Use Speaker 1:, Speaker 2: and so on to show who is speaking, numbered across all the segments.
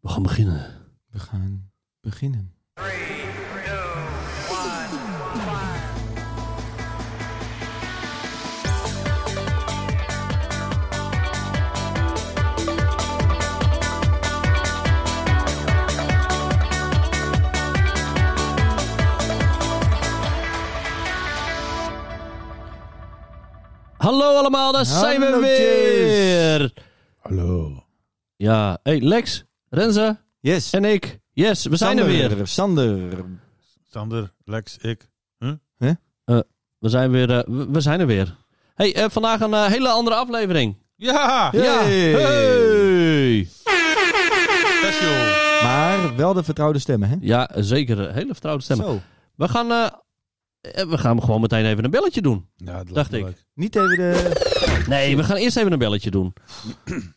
Speaker 1: We gaan beginnen.
Speaker 2: We gaan beginnen.
Speaker 1: Hallo allemaal, daar zijn we
Speaker 2: Hallootjes.
Speaker 1: weer.
Speaker 3: Hallo.
Speaker 1: Ja, hey Lex, Renze
Speaker 2: Yes.
Speaker 1: en ik. Yes, we zijn er
Speaker 2: Sander,
Speaker 1: weer.
Speaker 2: Sander.
Speaker 3: Sander, Lex, ik.
Speaker 1: We zijn, weer, eh, we- we zijn er weer. Hey, eh, vandaag een eh, hele andere aflevering.
Speaker 3: Ja!
Speaker 1: Ja,
Speaker 2: Hey.
Speaker 1: hey.
Speaker 3: Special!
Speaker 2: Maar wel de vertrouwde stemmen, hè?
Speaker 1: ja zeker. eh, Hele vertrouwde stemmen.
Speaker 2: Zo.
Speaker 1: We gaan, eh, eh, we gaan gewoon meteen even een belletje doen.
Speaker 3: Ja, dat
Speaker 1: Dacht
Speaker 3: lijkt me
Speaker 1: ik.
Speaker 3: leuk.
Speaker 2: Niet even de...
Speaker 1: Nee, we gaan eerst even een belletje doen.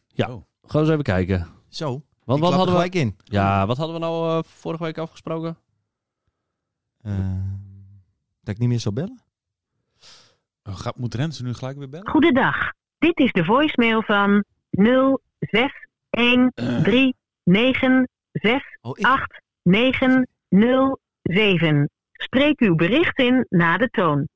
Speaker 1: Ja,
Speaker 3: Oh.
Speaker 1: gewoon eens even kijken.
Speaker 2: Zo.
Speaker 1: Want wat hadden, we,
Speaker 2: gelijk in.
Speaker 1: ja, wat hadden we nou eh, vorige week afgesproken?
Speaker 2: Eh, dat ik niet meer zou bellen?
Speaker 3: Oh, gaat, moet Rensen nu gelijk weer bellen?
Speaker 4: Goedendag. Dit is de voicemail van 0613968907.
Speaker 2: Oh, ik...
Speaker 4: Spreek uw bericht in na de toon.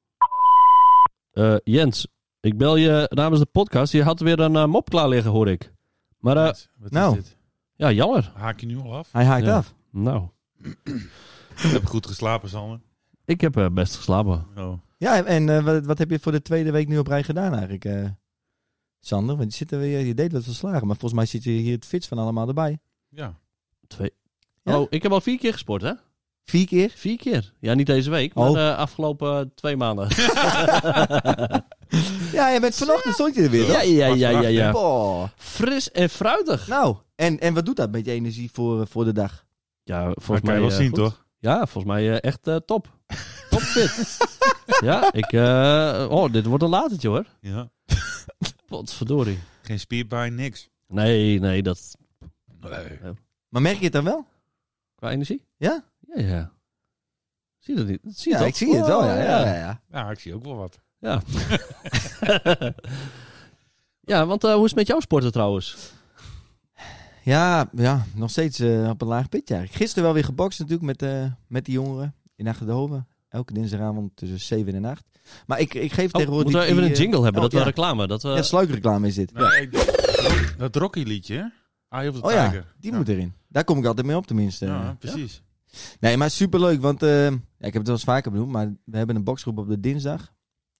Speaker 1: Eh, Jens, ik bel je namens de podcast. Je had weer een eh, mop klaar liggen, hoor ik. Maar eh,
Speaker 3: Wat is
Speaker 2: nou.
Speaker 3: dit?
Speaker 1: ja, jammer.
Speaker 3: Haak je nu al af?
Speaker 2: Hij haakt
Speaker 1: Ja.
Speaker 2: af.
Speaker 1: Nou,
Speaker 3: Ik heb goed geslapen, Sander.
Speaker 1: ik heb eh, best geslapen.
Speaker 3: Oh.
Speaker 2: Ja, en eh, wat, wat heb je voor de tweede week nu op rij gedaan eigenlijk, eh, Sander? Want je, zit er weer, je deed wat verslagen, maar volgens mij zit je hier het fits van allemaal erbij.
Speaker 3: Ja.
Speaker 1: Twee.
Speaker 2: Ja?
Speaker 1: Oh, ik heb al vier keer gesport, hè?
Speaker 2: Vier keer?
Speaker 1: Vier keer. Ja, niet deze week, maar
Speaker 2: Oh.
Speaker 1: de afgelopen twee maanden.
Speaker 2: Ja, je bent vanochtend stond je er weer,
Speaker 1: ja,
Speaker 2: toch?
Speaker 1: ja, ja, ja, ja.
Speaker 2: Boah.
Speaker 1: Fris en fruitig.
Speaker 2: Nou, en, en wat doet dat met je energie voor, eh, voor de dag?
Speaker 1: Ja, volgens
Speaker 3: Dat kan
Speaker 1: mij
Speaker 3: je wel
Speaker 1: eh,
Speaker 3: zien,
Speaker 1: goed.
Speaker 3: toch?
Speaker 1: Ja, volgens mij eh, echt eh, top. Top fit. ja, ik... eh, oh, dit wordt een latertje, hoor.
Speaker 3: Ja.
Speaker 1: Potverdorie.
Speaker 3: Geen spierpijn, niks.
Speaker 1: Nee, nee, dat...
Speaker 3: Nee.
Speaker 2: Maar merk je het dan wel?
Speaker 1: Qua energie?
Speaker 2: Ja?
Speaker 1: Ja, ja. Zie je dat niet? Dat zie je
Speaker 2: Ja,
Speaker 1: toch?
Speaker 2: ik zie het wel,
Speaker 1: Oh,
Speaker 2: ja. ja, ja, ja.
Speaker 3: Ja, ik zie ook wel wat.
Speaker 1: Ja. Ja, want eh, hoe is het met jouw sporten trouwens?
Speaker 2: Ja, ja, nog steeds eh, op een laag pitje eigenlijk. Gisteren wel weer gebokst natuurlijk met, eh, met die jongeren in Achterhoven. Elke dinsdagavond tussen 7 en 8. Maar ik, ik geef
Speaker 1: Oh,
Speaker 2: tegenwoordig...
Speaker 1: moeten we
Speaker 2: die-
Speaker 1: even een
Speaker 2: die, eh,
Speaker 1: jingle eh? hebben?
Speaker 2: oh,
Speaker 1: dat we
Speaker 2: ja.
Speaker 1: reclame. Dat, we-
Speaker 2: Ja, sluikreclame is dit.
Speaker 3: Nee, ik- dat Rocky-liedje, hè? Eye of the
Speaker 2: Oh ja,
Speaker 3: Tiger.
Speaker 2: Die
Speaker 3: Ja.
Speaker 2: moet erin. Daar kom ik altijd mee op tenminste.
Speaker 3: Ja, precies.
Speaker 2: Nee, maar superleuk, want eh, ja, ik heb het wel eens vaker benoemd, maar we hebben een boxgroep op de dinsdag.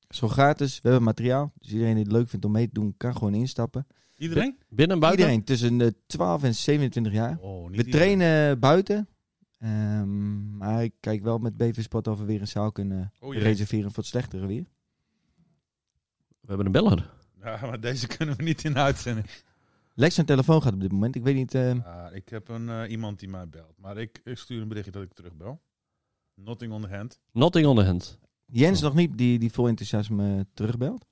Speaker 2: Zo gratis, we hebben materiaal. Dus iedereen die het leuk vindt om mee te doen, kan gewoon instappen.
Speaker 3: Iedereen?
Speaker 1: binnen en buiten?
Speaker 2: Iedereen tussen de 12 en 27 jaar.
Speaker 3: Oh, niet
Speaker 2: We
Speaker 3: iedereen.
Speaker 2: trainen buiten. Ehm, maar ik kijk wel met BV-sport of we weer een zaal kunnen
Speaker 3: Oh, jee.
Speaker 2: reserveren voor het slechtere weer.
Speaker 1: We hebben een beller.
Speaker 3: Ja, maar deze kunnen we niet in de uitzending.
Speaker 2: Lex zijn telefoon gaat op dit moment. Ik weet niet. ehm,
Speaker 3: Ah, ik heb een, eh, iemand die mij belt. Maar ik, ik stuur een berichtje dat ik terugbel. Nothing on the hand.
Speaker 1: Nothing on the hand.
Speaker 2: Jens
Speaker 1: Oh.
Speaker 2: nog niet, die, die vol enthousiasme eh, terugbelt.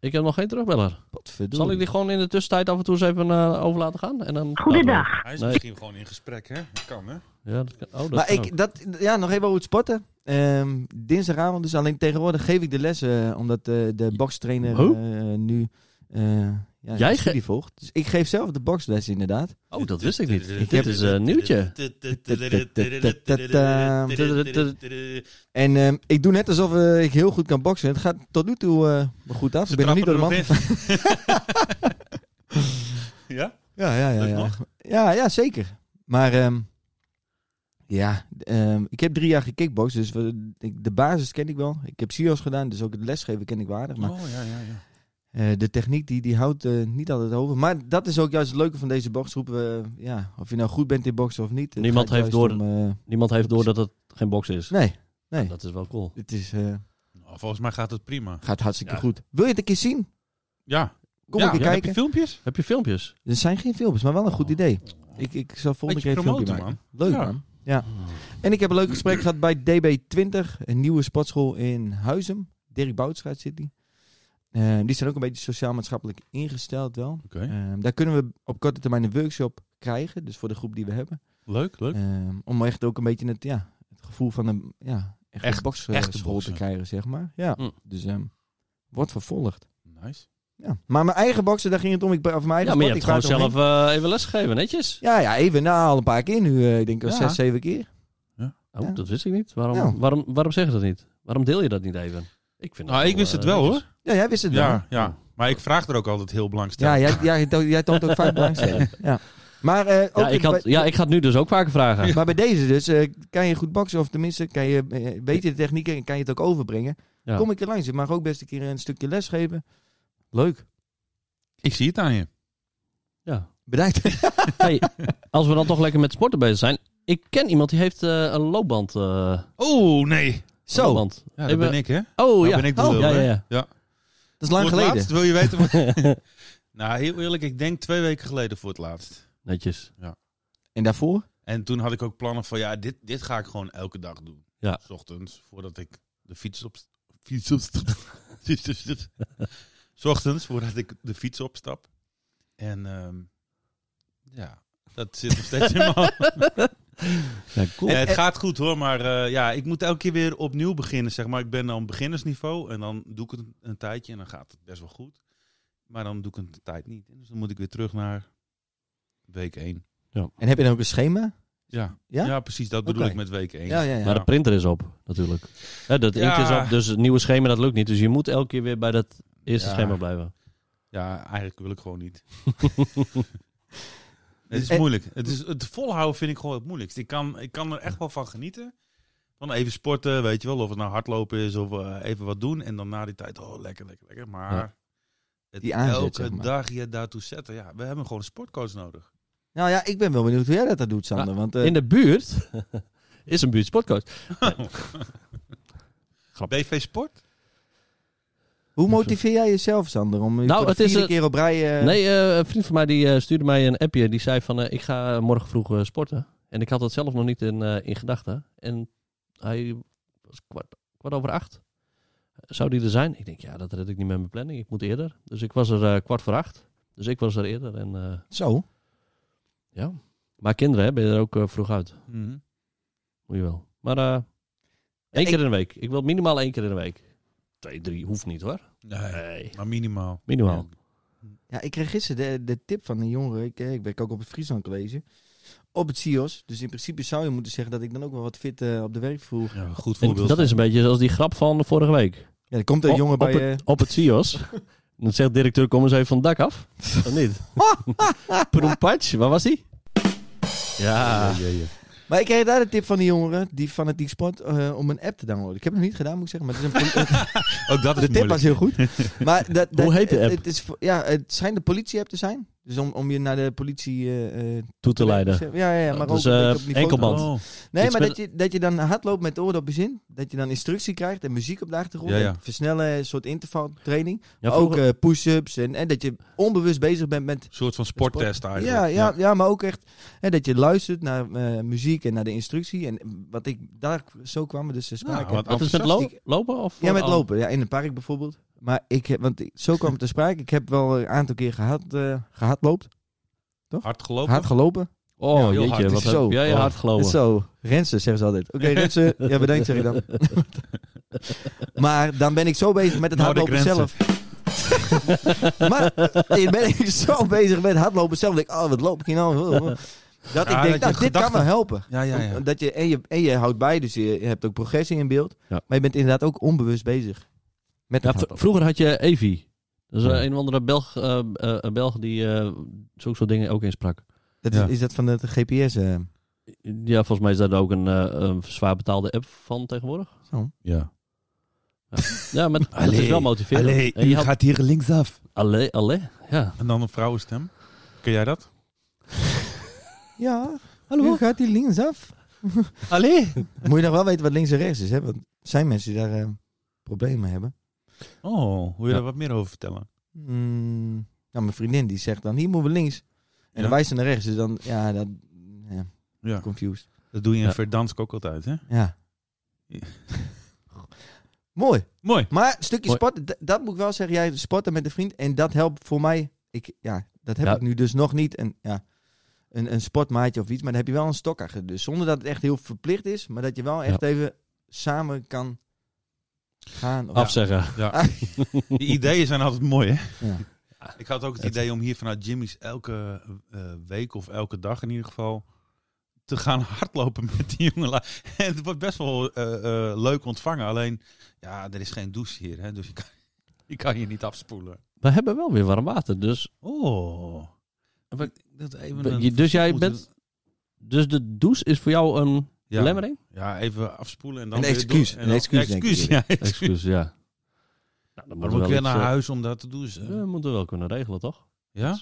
Speaker 1: Ik heb nog geen terugbeller.
Speaker 2: Potverdorie.
Speaker 1: Zal ik die gewoon in de tussentijd af en toe eens even eh, over laten gaan? En dan
Speaker 4: Goedendag.
Speaker 3: Hij is
Speaker 1: Nee.
Speaker 3: misschien gewoon in gesprek, hè? Dat kan, hè?
Speaker 1: Ja, dat kan, oh, dat
Speaker 2: Maar
Speaker 1: kan ook.
Speaker 2: ik, dat, ja, nog even over het sporten. Ehm, dinsdagavond, dus alleen tegenwoordig geef ik de lessen, eh, omdat eh, de bokstrainer
Speaker 1: Hoe?
Speaker 2: eh, nu eh ja,
Speaker 1: Jij
Speaker 2: Jij
Speaker 1: ge-
Speaker 2: studie volgt. Dus ik geef zelf de boksles inderdaad.
Speaker 1: Oh, dat wist ik niet.
Speaker 3: Ik
Speaker 1: Dit is eh, een nieuwtje.
Speaker 2: En ehm, ik doe net alsof eh, ik heel goed kan boksen. Het gaat tot nu toe eh, me goed af.
Speaker 3: Ze
Speaker 2: ik ben nog niet door de
Speaker 3: trappen
Speaker 2: man.
Speaker 3: er nog in. ja?
Speaker 2: Ja, ja, ja.
Speaker 3: Leuk
Speaker 2: Ja,
Speaker 3: nog?
Speaker 2: ja, ja zeker. Maar ehm, ja, ehm, ik heb drie jaar gekickboxd, dus we- ik- de basis ken ik wel. Ik heb CIO's gedaan, dus ook het lesgeven ken ik waardig. Maar
Speaker 3: Oh, ja, ja, ja.
Speaker 2: eh, de techniek, die, die houdt eh, niet altijd over. Maar dat is ook juist het leuke van deze boxgroep. eh, ja, of je nou goed bent in boksen of niet. het
Speaker 1: Niemand
Speaker 2: gaat
Speaker 1: heeft
Speaker 2: juist
Speaker 1: door-
Speaker 2: om, eh,
Speaker 1: Niemand heeft door dat het geen box is.
Speaker 2: nee, nee.
Speaker 1: Dat is wel cool.
Speaker 2: Het is, eh,
Speaker 3: Nou, volgens mij gaat het prima.
Speaker 2: gaat hartstikke
Speaker 1: Ja.
Speaker 2: goed. Wil je het een keer zien?
Speaker 3: Ja.
Speaker 2: Kom
Speaker 3: ja,
Speaker 2: een keer
Speaker 3: ja, Heb
Speaker 2: kijken.
Speaker 3: je filmpjes?
Speaker 1: Heb je filmpjes?
Speaker 2: Er zijn geen filmpjes, maar wel een goed
Speaker 3: Oh.
Speaker 2: idee. Ik, ik zal volgende keer
Speaker 3: Beetje
Speaker 2: een filmpje maken.
Speaker 3: promoten,
Speaker 2: Leuk
Speaker 3: Ja.
Speaker 2: man. Ja. En ik heb een leuk gesprek gehad bij DB20, een nieuwe sportschool in Huizum. Dirk Boutschuit zit die. Eh, die zijn ook een beetje sociaal-maatschappelijk ingesteld wel.
Speaker 3: Oké.
Speaker 2: Ehm, daar kunnen we op korte termijn een workshop krijgen, dus voor de groep die we hebben.
Speaker 3: Leuk, leuk.
Speaker 2: Ehm, om echt ook een beetje het, ja, het gevoel van een ja, echt,
Speaker 3: Echt-
Speaker 2: boxschool
Speaker 3: echte
Speaker 2: te
Speaker 3: boksen.
Speaker 2: krijgen, zeg maar. Ja.
Speaker 1: Hm.
Speaker 2: Dus ehm, wordt vervolgd.
Speaker 3: Nice.
Speaker 2: Ja. Maar mijn eigen boksen, daar ging het om. Ik, ben- of mijn
Speaker 1: Ja,
Speaker 2: eigen
Speaker 1: maar je
Speaker 2: sport,
Speaker 1: hebt
Speaker 2: ik
Speaker 1: gewoon
Speaker 2: praat
Speaker 1: zelf
Speaker 2: eromheen.
Speaker 1: eh, even lesgegeven, netjes.
Speaker 2: Ja, ja, even. Nou, al een paar keer nu. eh, ik denk al
Speaker 3: Ja.
Speaker 2: zes, zeven keer.
Speaker 1: Oh,
Speaker 2: Ja.
Speaker 1: dat wist ik niet. Waarom,
Speaker 2: Nou.
Speaker 1: waarom, waarom zeg je dat niet? Waarom deel je dat niet even? Ik, vind dat
Speaker 3: Nou, ik wist
Speaker 1: eh,
Speaker 3: het wel
Speaker 1: netjes.
Speaker 3: hoor.
Speaker 2: Ja, jij wist het wel.
Speaker 3: Ja, ja. Maar ik vraag er ook altijd heel
Speaker 2: Ja,
Speaker 3: belangstellend.
Speaker 2: jij, jij, to- jij toont ook vaak belangstelling. Ja. Maar, eh, ook
Speaker 1: Ja ik, had,
Speaker 2: bij,
Speaker 1: ja, ik ga het nu dus ook vaker vragen.
Speaker 2: maar bij deze dus, eh, kan je goed boksen of tenminste kan je, eh, weet je de techniek en kan je het ook overbrengen.
Speaker 1: Ja.
Speaker 2: Kom ik er langs, ik mag ook best een keer een stukje les geven. Leuk.
Speaker 3: Ik zie het aan je.
Speaker 1: Ja.
Speaker 2: Bedankt.
Speaker 1: Hey, als we dan toch lekker met sporten bezig zijn. Ik ken iemand die heeft eh, een loopband. eh
Speaker 3: Oh, nee.
Speaker 2: Zo, dat
Speaker 1: loopband.
Speaker 3: Ja, dat
Speaker 1: Even-
Speaker 3: ben ik, hè?
Speaker 1: Oh
Speaker 3: Nou
Speaker 1: ja.
Speaker 3: ben ik de
Speaker 1: oh,
Speaker 3: lul,
Speaker 1: ja, ja,
Speaker 3: hè?
Speaker 1: ja.
Speaker 2: is lang
Speaker 3: voor het
Speaker 2: geleden.
Speaker 3: laatst, wil je weten? wat- nou, heel eerlijk, ik denk twee weken geleden voor het laatst.
Speaker 1: Netjes.
Speaker 2: En daarvoor?
Speaker 3: En toen had ik ook plannen van, ja, dit, dit ga ik gewoon elke dag doen.
Speaker 1: Ja.
Speaker 3: S ochtends, voordat ik de fiets op... Fiets op... S ochtends, voordat ik de fiets opstap. En ehm, ja, dat zit nog steeds in mijn hoofd.
Speaker 1: Ja, cool.
Speaker 3: Ja, het gaat goed hoor, maar eh, ja, ik moet elke keer weer opnieuw beginnen. Zeg maar, ik ben dan beginnersniveau en dan doe ik het een, een tijdje en dan gaat het best wel goed. Maar dan doe ik het een tijd niet. Dus dan moet ik weer terug naar week 1.
Speaker 2: En heb je dan ook een schema?
Speaker 3: Ja,
Speaker 2: Ja?
Speaker 3: ja? precies, dat bedoel
Speaker 2: Oké.
Speaker 3: ik met week 1.
Speaker 2: Ja, ja, ja.
Speaker 1: Maar de printer is op, natuurlijk. Hè, dat inkt
Speaker 3: Ja.
Speaker 1: is op, dus het nieuwe schema dat lukt niet. Dus je moet elke keer weer bij dat eerste
Speaker 3: Ja.
Speaker 1: schema blijven.
Speaker 3: Ja, eigenlijk wil ik gewoon niet. het is
Speaker 2: En-
Speaker 3: moeilijk. Het, is, het volhouden vind ik gewoon het moeilijkst. Ik kan, ik kan er echt wel van genieten. Van even sporten, weet je wel. Of het nou hardlopen is of eh, even wat doen. En dan na die tijd, oh lekker, lekker, lekker. Maar
Speaker 1: Ja.
Speaker 3: het
Speaker 2: Die aanzet,
Speaker 3: elke
Speaker 2: zeg maar.
Speaker 3: dag je daartoe zetten. Ja, we hebben gewoon een sportcoach nodig.
Speaker 2: Nou ja, ik ben wel benieuwd hoe jij dat dan doet, Sander. want, eh,
Speaker 1: In de buurt is een buurt sportcoach.
Speaker 3: BV Sport?
Speaker 2: Hoe motiveer jij jezelf, Sander? Om
Speaker 1: Nou,
Speaker 2: nou,
Speaker 1: het
Speaker 2: het
Speaker 1: is
Speaker 2: is
Speaker 1: een-
Speaker 2: keer op rij... eh,
Speaker 1: Nee, eh, een vriend van mij die eh, stuurde mij een appje. Die zei van, eh, ik ga morgen vroeg eh, sporten. En ik had dat zelf nog niet in, eh, in gedachten. En hij was kwart, kwart over acht. Zou die er zijn? Ik denk, ja, dat red ik niet met mijn planning. Ik moet eerder. Dus ik was er eh, kwart voor acht. Dus ik was er eerder. En, eh,
Speaker 2: Zo.
Speaker 1: ja. Maar kinderen, hè, ben je er ook eh, vroeg uit.
Speaker 3: Mhm.
Speaker 1: Moet je wel. Maar eh één
Speaker 2: ik-
Speaker 1: keer in de week. Ik wil minimaal één keer in de week. Twee, drie hoeft niet hoor.
Speaker 3: Nee,
Speaker 1: Nee.
Speaker 3: maar minimaal.
Speaker 1: Minimaal.
Speaker 2: Ja, ik kreeg gisteren de, de tip van een jongere. Ik, eh, ik werk ook op het Friesland College. Op het CIOS. Dus in principe zou je moeten zeggen dat ik dan ook wel wat fit eh, op de werkvloer...
Speaker 3: Ja, goed
Speaker 1: En
Speaker 3: voorbeeld.
Speaker 1: dat is een beetje zoals die grap van vorige week.
Speaker 2: Ja, er komt een
Speaker 1: Op-
Speaker 2: jongen bij...
Speaker 1: op,
Speaker 2: eh,
Speaker 1: het, op het CIOS. Dan zegt directeur, kom eens even van het dak af. Of niet? Proempatsch, waar was die? Ja.
Speaker 3: Ja, ja, ja.
Speaker 2: Maar ik kreeg daar de tip van die jongeren, die fanatiek sport, eh, om een app te downloaden. Ik heb het nog niet gedaan, moet ik zeggen. Maar het is een,
Speaker 3: Ook dat is
Speaker 2: de tip was
Speaker 3: moeilijk.
Speaker 2: heel goed. Maar dat, dat,
Speaker 1: Hoe heet de
Speaker 2: het-
Speaker 1: app?
Speaker 2: Het, is, voor- ja, het schijnt de politie-app te zijn. Dus om, om je naar de politie... eh, eh,
Speaker 1: Toe te leiden.
Speaker 2: Ja, ja, ja, maar
Speaker 1: Dat is,
Speaker 2: ook een beetje
Speaker 1: eh,
Speaker 2: op niveau te
Speaker 1: enkelband.
Speaker 3: Oh,
Speaker 2: Nee,
Speaker 1: Iets
Speaker 2: maar
Speaker 1: met-
Speaker 2: dat je, dat je dan hardloopt met oordopjes in. Dat je dan instructie krijgt en muziek op de achtergrond.
Speaker 3: Ja, ja.
Speaker 2: en Versnellen, een soort intervaltraining.
Speaker 1: Ja,
Speaker 2: maar ook
Speaker 1: vroeger-
Speaker 2: eh, push-ups en, en dat je onbewust bezig bent met...
Speaker 3: een soort van sporttest
Speaker 1: Ah,
Speaker 2: Ja,
Speaker 3: eigenlijk.
Speaker 2: ja, ja. maar ook echt hè, dat je luistert naar eh, muziek en naar de instructie. En wat ik daar zo kwam, we dus te sprake.
Speaker 3: Nou, wat
Speaker 1: Wat is het met lo-
Speaker 2: enthousiast.
Speaker 1: lopen? Of oh.
Speaker 2: ja, met lopen. Ja, in een park bijvoorbeeld. Maar ik heb, want ik- zo kwam het te sprake. Ik heb wel een aantal keer gehad, eh gehardloopt.
Speaker 3: Hard gelopen.
Speaker 2: Hard gelopen.
Speaker 1: Oh,
Speaker 3: Ja, heel
Speaker 1: jeetje.
Speaker 3: hard.
Speaker 1: Wat
Speaker 2: Zo.
Speaker 1: heb jij je
Speaker 2: Oh.
Speaker 1: hard gelopen?
Speaker 2: Zo, Rensen zeggen ze altijd. Oké, Rensen, ja bedankt zeg ik dan. maar dan ben ik zo bezig met het
Speaker 3: Nodig
Speaker 2: hardlopen zelf. maar eh, ben ik zo bezig met hardlopen zelf. Dat ik, oh wat loop ik hier nou? Dat
Speaker 3: Ja,
Speaker 2: ik denk, nou,
Speaker 3: dat je
Speaker 2: dit kan
Speaker 3: gedachten-
Speaker 2: wel helpen.
Speaker 3: Ja, ja, ja.
Speaker 2: Dat je, en, je, en je houdt bij, dus je hebt ook progressie in beeld.
Speaker 1: Ja.
Speaker 2: Maar je bent inderdaad ook onbewust bezig. Met
Speaker 1: Ja,
Speaker 2: het
Speaker 1: v-
Speaker 2: hardlopen.
Speaker 1: vroeger had je Evi. Dat is
Speaker 3: Ja.
Speaker 1: een of andere Belg, eh eh, Belg die eh zulke soort dingen ook insprak.
Speaker 2: dat is,
Speaker 3: ja.
Speaker 2: is dat van het GPS? eh,
Speaker 1: Ja, volgens mij is daar ook een, eh, een zwaar betaalde app van tegenwoordig.
Speaker 3: ja.
Speaker 1: Ja, maar dat is
Speaker 3: Allee,
Speaker 1: wel motiverend. En je had-
Speaker 3: hier linksaf.
Speaker 1: Allee, allee. Ja.
Speaker 3: En dan een vrouwenstem. Ken jij dat?
Speaker 2: ja,
Speaker 1: Hallo.
Speaker 2: nu gaat die linksaf.
Speaker 1: Allee.
Speaker 2: Moet je nog wel weten wat links en rechts is, hè? Want er zijn mensen die daar eh, problemen mee hebben.
Speaker 3: Oh, wil je
Speaker 1: Ja.
Speaker 3: daar wat meer over vertellen?
Speaker 2: Mm, nou, mijn vriendin die zegt dan, hier moeten we links. En
Speaker 3: Ja.
Speaker 2: dan wijst ze naar rechts. Dus dan, ja, dat, ja,
Speaker 3: Ja.
Speaker 2: confused.
Speaker 3: Dat doe je in
Speaker 1: Ja.
Speaker 3: Verdansk ook altijd, hè?
Speaker 2: Ja.
Speaker 3: Ja.
Speaker 2: Mooi.
Speaker 3: Mooi.
Speaker 2: Maar een stukje
Speaker 1: Mooi.
Speaker 2: sporten, d- dat moet ik wel zeggen. Jij sporten met een vriend. En dat helpt voor mij. Ik, ja, dat heb
Speaker 1: Ja.
Speaker 2: ik nu dus nog niet. En, ja, een, een sportmaatje of iets. Maar dan heb je wel een stok achter. Dus zonder dat het echt heel verplicht is. Maar dat je wel echt even samen kan Gaan of...
Speaker 1: Afzeggen.
Speaker 3: Ja. Die ideeën zijn altijd mooi, hè?
Speaker 2: Ja.
Speaker 3: Ik had ook het idee om hier vanuit Jimmy's elke eh, week of elke dag in ieder geval te gaan hardlopen met die jongen. En het wordt best wel eh, eh, leuk ontvangen. Alleen, ja, er is geen douche hier, hè? Dus je kan, je kan je niet afspoelen.
Speaker 1: We hebben wel weer warm water. Dus,
Speaker 3: Oh.
Speaker 1: Wat-
Speaker 3: Dat
Speaker 1: Ben
Speaker 3: even
Speaker 1: je- dus jij
Speaker 3: moeten-
Speaker 1: bent- dus de douche is voor jou een belemmering?
Speaker 3: Ja, even afspoelen en dan
Speaker 2: Een
Speaker 3: weer
Speaker 2: excuus.
Speaker 3: doen.
Speaker 2: Een
Speaker 3: En dan,
Speaker 2: excuus,
Speaker 3: ja,
Speaker 2: denk
Speaker 3: excuus,
Speaker 2: ik
Speaker 3: ja. excuus.
Speaker 1: Excuus, ja. Nou, dan
Speaker 3: Dan
Speaker 1: moeten
Speaker 3: moet
Speaker 1: we wel
Speaker 3: ik weer
Speaker 1: iets,
Speaker 3: naar
Speaker 1: eh,
Speaker 3: huis om dat te doen.
Speaker 1: We moeten wel kunnen regelen, toch?
Speaker 3: Ja?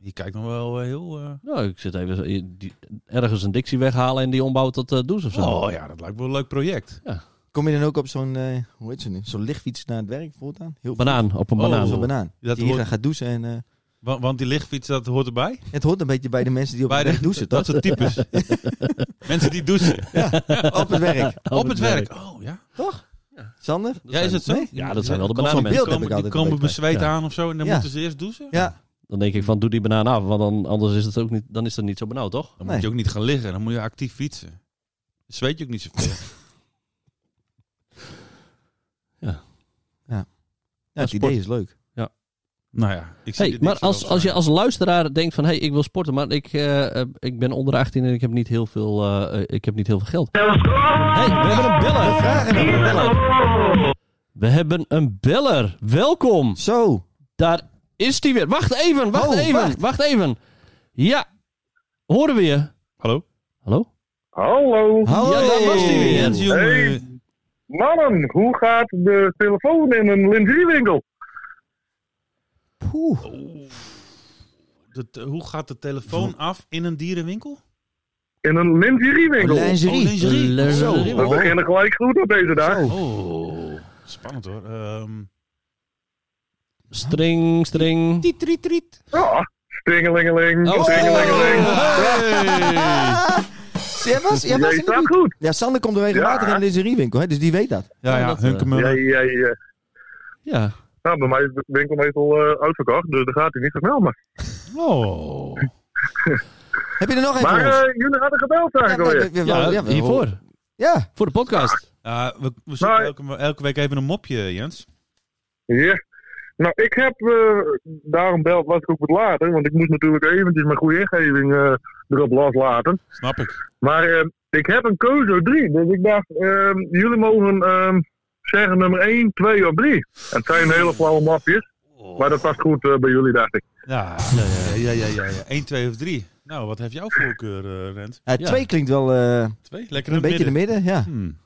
Speaker 3: Je kijkt nog wel eh, heel... eh,
Speaker 1: Nou, ik zit even eh, die, ergens een dictie weghalen en die ombouwt tot eh douche of zo.
Speaker 3: Oh ja, dat lijkt wel een leuk project.
Speaker 2: Kom je dan ook op zo'n, eh, hoe heet ze nu? Zo'n lichtfiets naar het werk voortaan? Heel
Speaker 1: Banaan, op een
Speaker 3: Oh,
Speaker 1: banaan.
Speaker 2: Banaan.
Speaker 3: zo-
Speaker 2: Zo'n banaan.
Speaker 3: Dat
Speaker 2: Dat je hier
Speaker 3: hoort-
Speaker 2: gaat douchen en... eh,
Speaker 3: Wa- Want die lichtfiets, dat hoort erbij.
Speaker 2: het hoort een beetje bij de mensen die op
Speaker 3: Bij
Speaker 2: het
Speaker 3: de-
Speaker 2: werk douchen,
Speaker 3: Dat
Speaker 2: toch?
Speaker 3: soort types. Mensen die douchen.
Speaker 2: op het werk.
Speaker 3: Op, het werk. Oh ja.
Speaker 2: Sander?
Speaker 1: Dat
Speaker 3: Ja, is
Speaker 1: zijn-
Speaker 3: het zo?
Speaker 2: Nee?
Speaker 1: Ja, dat zijn wel de
Speaker 3: Komt
Speaker 1: bananenmensen.
Speaker 2: zo'n beeld.
Speaker 3: Die komen,
Speaker 2: heb ik
Speaker 3: die
Speaker 2: altijd
Speaker 3: komen
Speaker 2: een beetje
Speaker 3: bezweet
Speaker 1: bij.
Speaker 3: aan of zo en dan
Speaker 2: Ja.
Speaker 3: moeten ze eerst douchen.
Speaker 2: Ja.
Speaker 1: Dan denk ik van, doe die banaan af, want dan, anders is het ook niet, dan is dat niet zo benauwd, toch?
Speaker 3: Dan
Speaker 2: Nee.
Speaker 3: moet je ook niet gaan liggen. Dan moet je actief fietsen. Dan zweet je ook niet zoveel.
Speaker 2: Ja, het
Speaker 1: sport.
Speaker 2: idee is leuk.
Speaker 3: nou ja. Ik zie
Speaker 1: Hey,
Speaker 3: dit
Speaker 1: maar
Speaker 3: niet zo
Speaker 1: als,
Speaker 3: wel
Speaker 1: als je
Speaker 3: zijn.
Speaker 1: als luisteraar denkt van, hé, hey, ik wil sporten, maar ik, eh, eh, ik ben onder 18 en ik heb niet heel veel, eh, eh, ik heb niet heel veel geld. hey, we hebben een beller.
Speaker 2: We vragen naar een beller.
Speaker 1: We hebben een beller. Welkom.
Speaker 2: Zo.
Speaker 1: Daar is die weer. Wacht even, wacht
Speaker 2: Oh,
Speaker 1: even, wacht.
Speaker 2: wacht.
Speaker 1: even. Ja, horen we je?
Speaker 3: Hallo?
Speaker 1: Hallo?
Speaker 5: Hallo.
Speaker 2: Hallo.
Speaker 1: Ja, daar was die weer.
Speaker 3: Jens, jongen.
Speaker 5: Hey. Mannen, hoe gaat de telefoon in een lingeriewinkel?
Speaker 2: Poeh.
Speaker 3: De te- hoe gaat de telefoon af in een dierenwinkel?
Speaker 5: In een lingeriewinkel.
Speaker 2: Lingerie.
Speaker 3: Oh, lingerie.
Speaker 2: Zo.
Speaker 1: Lingerie.
Speaker 5: We beginnen gelijk goed op deze dag.
Speaker 2: Zo.
Speaker 3: Oh. Spannend hoor. Ehm,
Speaker 1: String, string.
Speaker 2: Tiet, riet, riet.
Speaker 5: Ja, stringelingeling,
Speaker 1: Oh.
Speaker 5: stringelingeling.
Speaker 2: Sebas? Ja, was
Speaker 5: Jij
Speaker 2: in de
Speaker 5: staat
Speaker 2: buurt.
Speaker 5: goed.
Speaker 2: ja, Sander komt er regelmatig
Speaker 5: Ja.
Speaker 2: in de lingeriewinkel, hè, dus die weet dat.
Speaker 3: Ja, ja.
Speaker 1: dat, eh,
Speaker 5: Ja,
Speaker 3: Hunkemuller.
Speaker 5: ja, ja.
Speaker 1: Ja.
Speaker 5: eh, Nou, bij mij is de winkel meestal eh, uitverkocht, dus daar gaat hij niet zo snel. Maar,
Speaker 3: Oh.
Speaker 2: Heb je er nog een
Speaker 5: maar
Speaker 2: voor ons?
Speaker 5: eh, jullie hadden gebeld
Speaker 2: Ja, nee,
Speaker 5: eigenlijk alweer.
Speaker 2: we- we-
Speaker 1: Ja,
Speaker 2: we- ja, we-
Speaker 1: hiervoor.
Speaker 2: Ja.
Speaker 1: Voor de podcast.
Speaker 3: Ja, Ah, we, we zoeken
Speaker 5: Maar-
Speaker 3: elke, elke week even een mopje, Jens.
Speaker 5: Ja. Nou, ik heb, eh, daarom belt was ik ook wat later, want ik moest natuurlijk eventjes mijn goede ingeving eh, erop loslaten.
Speaker 3: Snap ik.
Speaker 5: Maar eh, ik heb een Kozo 3. Dus ik dacht, eh, jullie mogen eh, zeggen nummer 1, 2 of 3. En het zijn hele flauwe mapjes. Maar dat past goed eh, bij jullie, dacht ik.
Speaker 3: Ja, ja, ja, ja, ja, ja, ja. 1, 2 of 3. Nou, wat heeft jouw voorkeur, eh, Rent?
Speaker 2: Ja,
Speaker 1: Ja.
Speaker 2: Twee klinkt wel eh, een
Speaker 3: Twee? Lekker in het
Speaker 2: beetje in
Speaker 3: midden.
Speaker 2: de midden, ja.
Speaker 3: Hmm.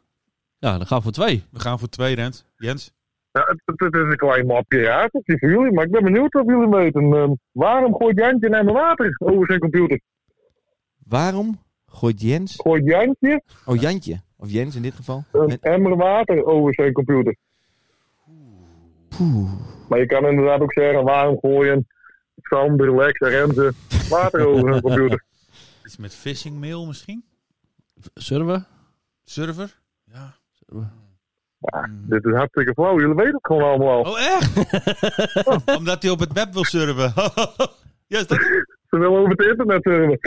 Speaker 1: Ja, dan gaan we voor twee.
Speaker 3: We gaan voor twee, Rent. Jens?
Speaker 5: Ja, het, het- het is een klein mapje, ja. Het is voor jullie. Maar ik ben benieuwd of jullie weten. eh, waarom gooit Jantje naar mijn water over zijn computer?
Speaker 2: Waarom gooit Jens,
Speaker 5: Gooit Jantje
Speaker 2: oh Jantje, of Jens in dit geval,
Speaker 5: een
Speaker 2: met-
Speaker 5: emmer water over zijn computer? Maar je kan inderdaad ook zeggen, waarom gooien Sander, Lex en Renze water over hun computer?
Speaker 3: Iets met phishing mail misschien?
Speaker 1: Zullen we?
Speaker 3: Server? Ja.
Speaker 5: Dit is hartstikke flauw. Jullie weten het gewoon allemaal al.
Speaker 3: Oh, echt? Omdat hij op het web wil surfen. ja, is dat het?
Speaker 5: Ze willen over het internet surfen.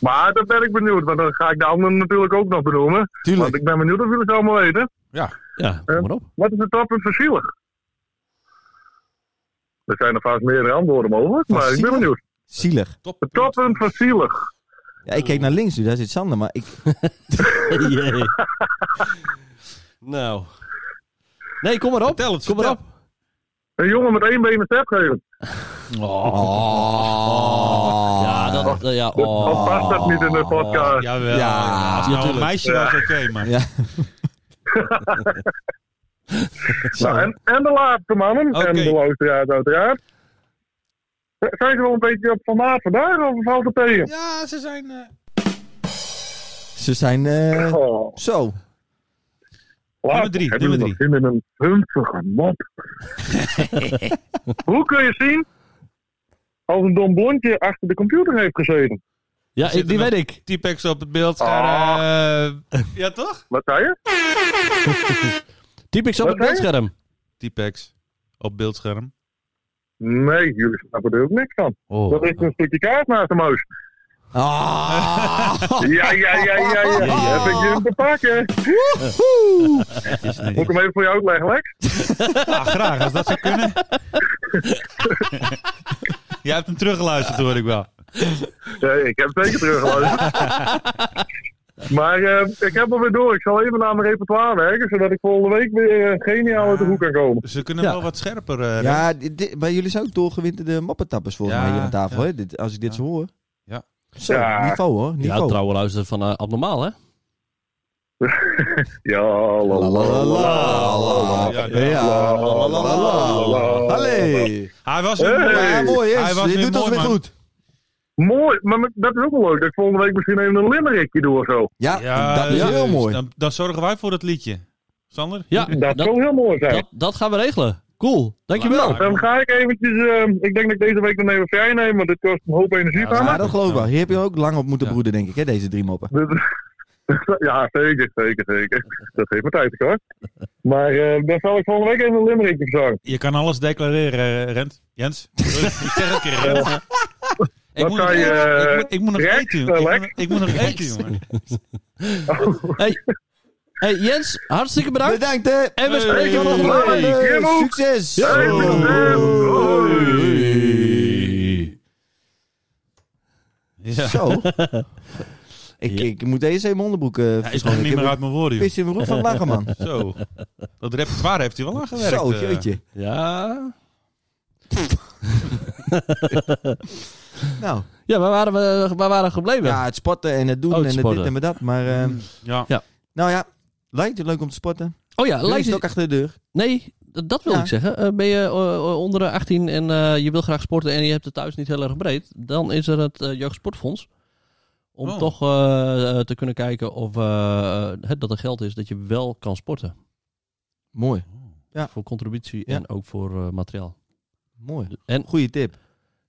Speaker 5: Maar dan ben ik benieuwd, want dan ga ik de anderen natuurlijk ook nog benoemen. Want
Speaker 2: Tuurlijk.
Speaker 5: ik ben benieuwd of jullie het allemaal weten.
Speaker 1: Ja, kom maar op.
Speaker 5: Wat is het toppunt van Zielig? Er zijn er vast meerdere antwoorden mogelijk,
Speaker 2: Van
Speaker 5: maar ik ben
Speaker 2: Zielig?
Speaker 5: benieuwd.
Speaker 2: Zielig.
Speaker 5: Het toppunt van Zielig.
Speaker 2: Ja, ik keek naar links nu, daar zit Sander, maar ik...
Speaker 1: Jee. nou. Nee, kom maar op.
Speaker 3: Vertel het,
Speaker 1: kom maar op.
Speaker 3: vertel.
Speaker 5: Een jongen met één been een step geven.
Speaker 2: Oh.
Speaker 1: Ja, dat, eh, ja, oh.
Speaker 5: Of past dat niet in de podcast?
Speaker 3: Jawel.
Speaker 2: Ja,
Speaker 3: Als het nou een
Speaker 1: tuurlijk.
Speaker 3: meisje was, oké, maar...
Speaker 2: Ja.
Speaker 5: Nou,
Speaker 2: Zo.
Speaker 5: en, en de laatste mannen,
Speaker 3: Oké.
Speaker 5: en de luisteraars uiteraard. Zijn ze wel een beetje op formaat vandaag of valt het tegen?
Speaker 3: Ja, ze zijn... eh,
Speaker 2: Ze zijn... eh,
Speaker 5: Oh,
Speaker 2: Zo.
Speaker 5: laat.
Speaker 3: Nummer drie,
Speaker 5: Hebben
Speaker 3: nummer
Speaker 5: jullie nog zin in een huntige mop? Hoe kun je zien als een dom blondje achter de computer heeft gezeten?
Speaker 1: ja ik- die
Speaker 3: nog-
Speaker 1: weet ik.
Speaker 3: T-Pex op het beeld. Eh, ja, toch?
Speaker 5: Wat zei je?
Speaker 1: Typ ik zo op het
Speaker 5: Wat zei je?
Speaker 1: beeldscherm.
Speaker 3: T-Pex op beeldscherm.
Speaker 5: Nee, jullie snappen er ook niks van.
Speaker 1: Oh.
Speaker 5: Dat is een stukje kaart naast de muis.
Speaker 2: Ah!
Speaker 3: Oh.
Speaker 5: Ja, ja, ja, ja, ja.
Speaker 2: Ja.
Speaker 5: Heb ik je hem te pakken.
Speaker 2: Woehoe!
Speaker 5: Moet ik hem even voor je uitleggen, Lex?
Speaker 3: Ah, graag, als dat zou kunnen. Jij hebt hem teruggeluisterd, hoor ik wel.
Speaker 5: Ja, ik heb het zeker teruggeluisterd. maar eh, ik heb hem weer door. Ik zal even naar mijn repertoire werken, zodat ik volgende week weer eh, geniaal
Speaker 3: Ah.
Speaker 5: uit de hoek kan komen.
Speaker 3: Ze kunnen
Speaker 1: Ja.
Speaker 3: wel wat scherper. eh, Ren.
Speaker 2: Ja, dit, dit- maar jullie zijn ook doorgewinterde mappetappers volgens
Speaker 3: Ja,
Speaker 2: mij hier aan tafel.
Speaker 3: ja.
Speaker 2: Hè? Dit, als ik dit
Speaker 3: Ja.
Speaker 2: zo hoor.
Speaker 3: Ja.
Speaker 2: Zo,
Speaker 5: Ja.
Speaker 2: niveau hoor.
Speaker 1: Ja,
Speaker 2: Niveau.
Speaker 1: trouwe luisteren van eh, abnormaal, hè?
Speaker 5: Ja, la, la, la, la,
Speaker 3: Ja,
Speaker 5: la,
Speaker 2: Ja, la, la, la, la, la. Allee.
Speaker 3: Hij was
Speaker 5: Hey.
Speaker 3: mooi.
Speaker 2: Ja, mooi. Yes.
Speaker 3: Hij was
Speaker 2: Dit
Speaker 3: weer
Speaker 2: doet ons
Speaker 3: mooi,
Speaker 2: weer
Speaker 3: man.
Speaker 2: goed.
Speaker 5: Mooi, maar met- dat is ook wel leuk. Dat ik volgende week misschien even een limmerikje doe of zo.
Speaker 2: Ja, dat is
Speaker 3: dus
Speaker 2: heel mooi.
Speaker 3: Dan, dan zorgen wij voor dat liedje. Sander?
Speaker 1: Ja,
Speaker 5: Dat,
Speaker 1: dat,
Speaker 5: zou heel mooi zijn.
Speaker 1: dat, dat gaan we regelen. Cool, dankjewel.
Speaker 3: Nou,
Speaker 5: Dan ga ik eventjes, ehm, ik denk dat ik deze week dan even vrij neem, want dit kost een hoop energie
Speaker 3: Ja,
Speaker 5: van
Speaker 2: Ja,
Speaker 5: me.
Speaker 2: dat geloof ik wel. Hier heb je ook lang op moeten
Speaker 3: Ja.
Speaker 2: broeden, denk ik, hè, deze drie moppen.
Speaker 5: Dus- ja, zeker, zeker, zeker. Dat heeft mijn tijd hoor. Maar eh, dan zal ik volgende week even een limmerikje verzorgen.
Speaker 3: Je kan alles declareren, eh, Rent. Jens? ik zeg het een keer, Rent. Ik
Speaker 5: Wat
Speaker 3: moet,
Speaker 5: kan
Speaker 3: nog-
Speaker 5: je, eh,
Speaker 3: ik, moet, ik moet nog
Speaker 5: Rex,
Speaker 3: eten,
Speaker 5: eh,
Speaker 3: jongen. Ik moet
Speaker 5: Lex?
Speaker 3: nog- Ik moet nog eten, jongen.
Speaker 1: Hey, Jens, hartstikke bedankt.
Speaker 2: Bedankt, hè.
Speaker 1: En we spreken
Speaker 3: Hey.
Speaker 1: volgende
Speaker 5: Hey.
Speaker 1: week.
Speaker 2: Hey,
Speaker 5: Jimmo.
Speaker 2: Succes.
Speaker 5: Hey, succes. Hoi.
Speaker 3: Ja.
Speaker 2: Zo. Ik,
Speaker 1: Ja.
Speaker 2: ik moet eerst even mijn onderbroek eh
Speaker 3: Hij is nog
Speaker 2: verschonen.
Speaker 3: niet
Speaker 2: Ik
Speaker 3: meer
Speaker 2: heb
Speaker 3: uit mijn
Speaker 2: een
Speaker 3: woorden, joh.
Speaker 2: pis in mijn broek van het lachen, man.
Speaker 3: Zo. Dat repertoire heeft hij wel aan gewerkt.
Speaker 2: Zo,
Speaker 3: eh.
Speaker 2: jeetje.
Speaker 1: Ja.
Speaker 2: Nou,
Speaker 1: Ja, waar waren we waar waren we gebleven?
Speaker 2: ja, het sporten en het doen
Speaker 1: Oh, het
Speaker 2: en het dit
Speaker 1: sporten.
Speaker 2: en het dat. Maar, eh,
Speaker 3: Ja.
Speaker 2: nou ja, lijkt het leuk om te sporten.
Speaker 1: Oh ja,
Speaker 2: Lijkt
Speaker 1: lijkt
Speaker 2: het ook achter de deur.
Speaker 1: Nee, d- dat wil
Speaker 2: Ja.
Speaker 1: ik zeggen. Eh, ben je eh, onder de 18 en eh, je wil graag sporten en je hebt het thuis niet heel erg breed, dan is er het eh, Jeugdsportfonds. Om
Speaker 3: Oh.
Speaker 1: toch eh, eh, te kunnen kijken of eh, het, dat er geld is dat je wel kan sporten.
Speaker 2: Mooi, Ja.
Speaker 1: Voor contributie
Speaker 2: Ja.
Speaker 1: en ook voor eh, materiaal.
Speaker 2: mooi.
Speaker 1: En,
Speaker 2: Goeie tip.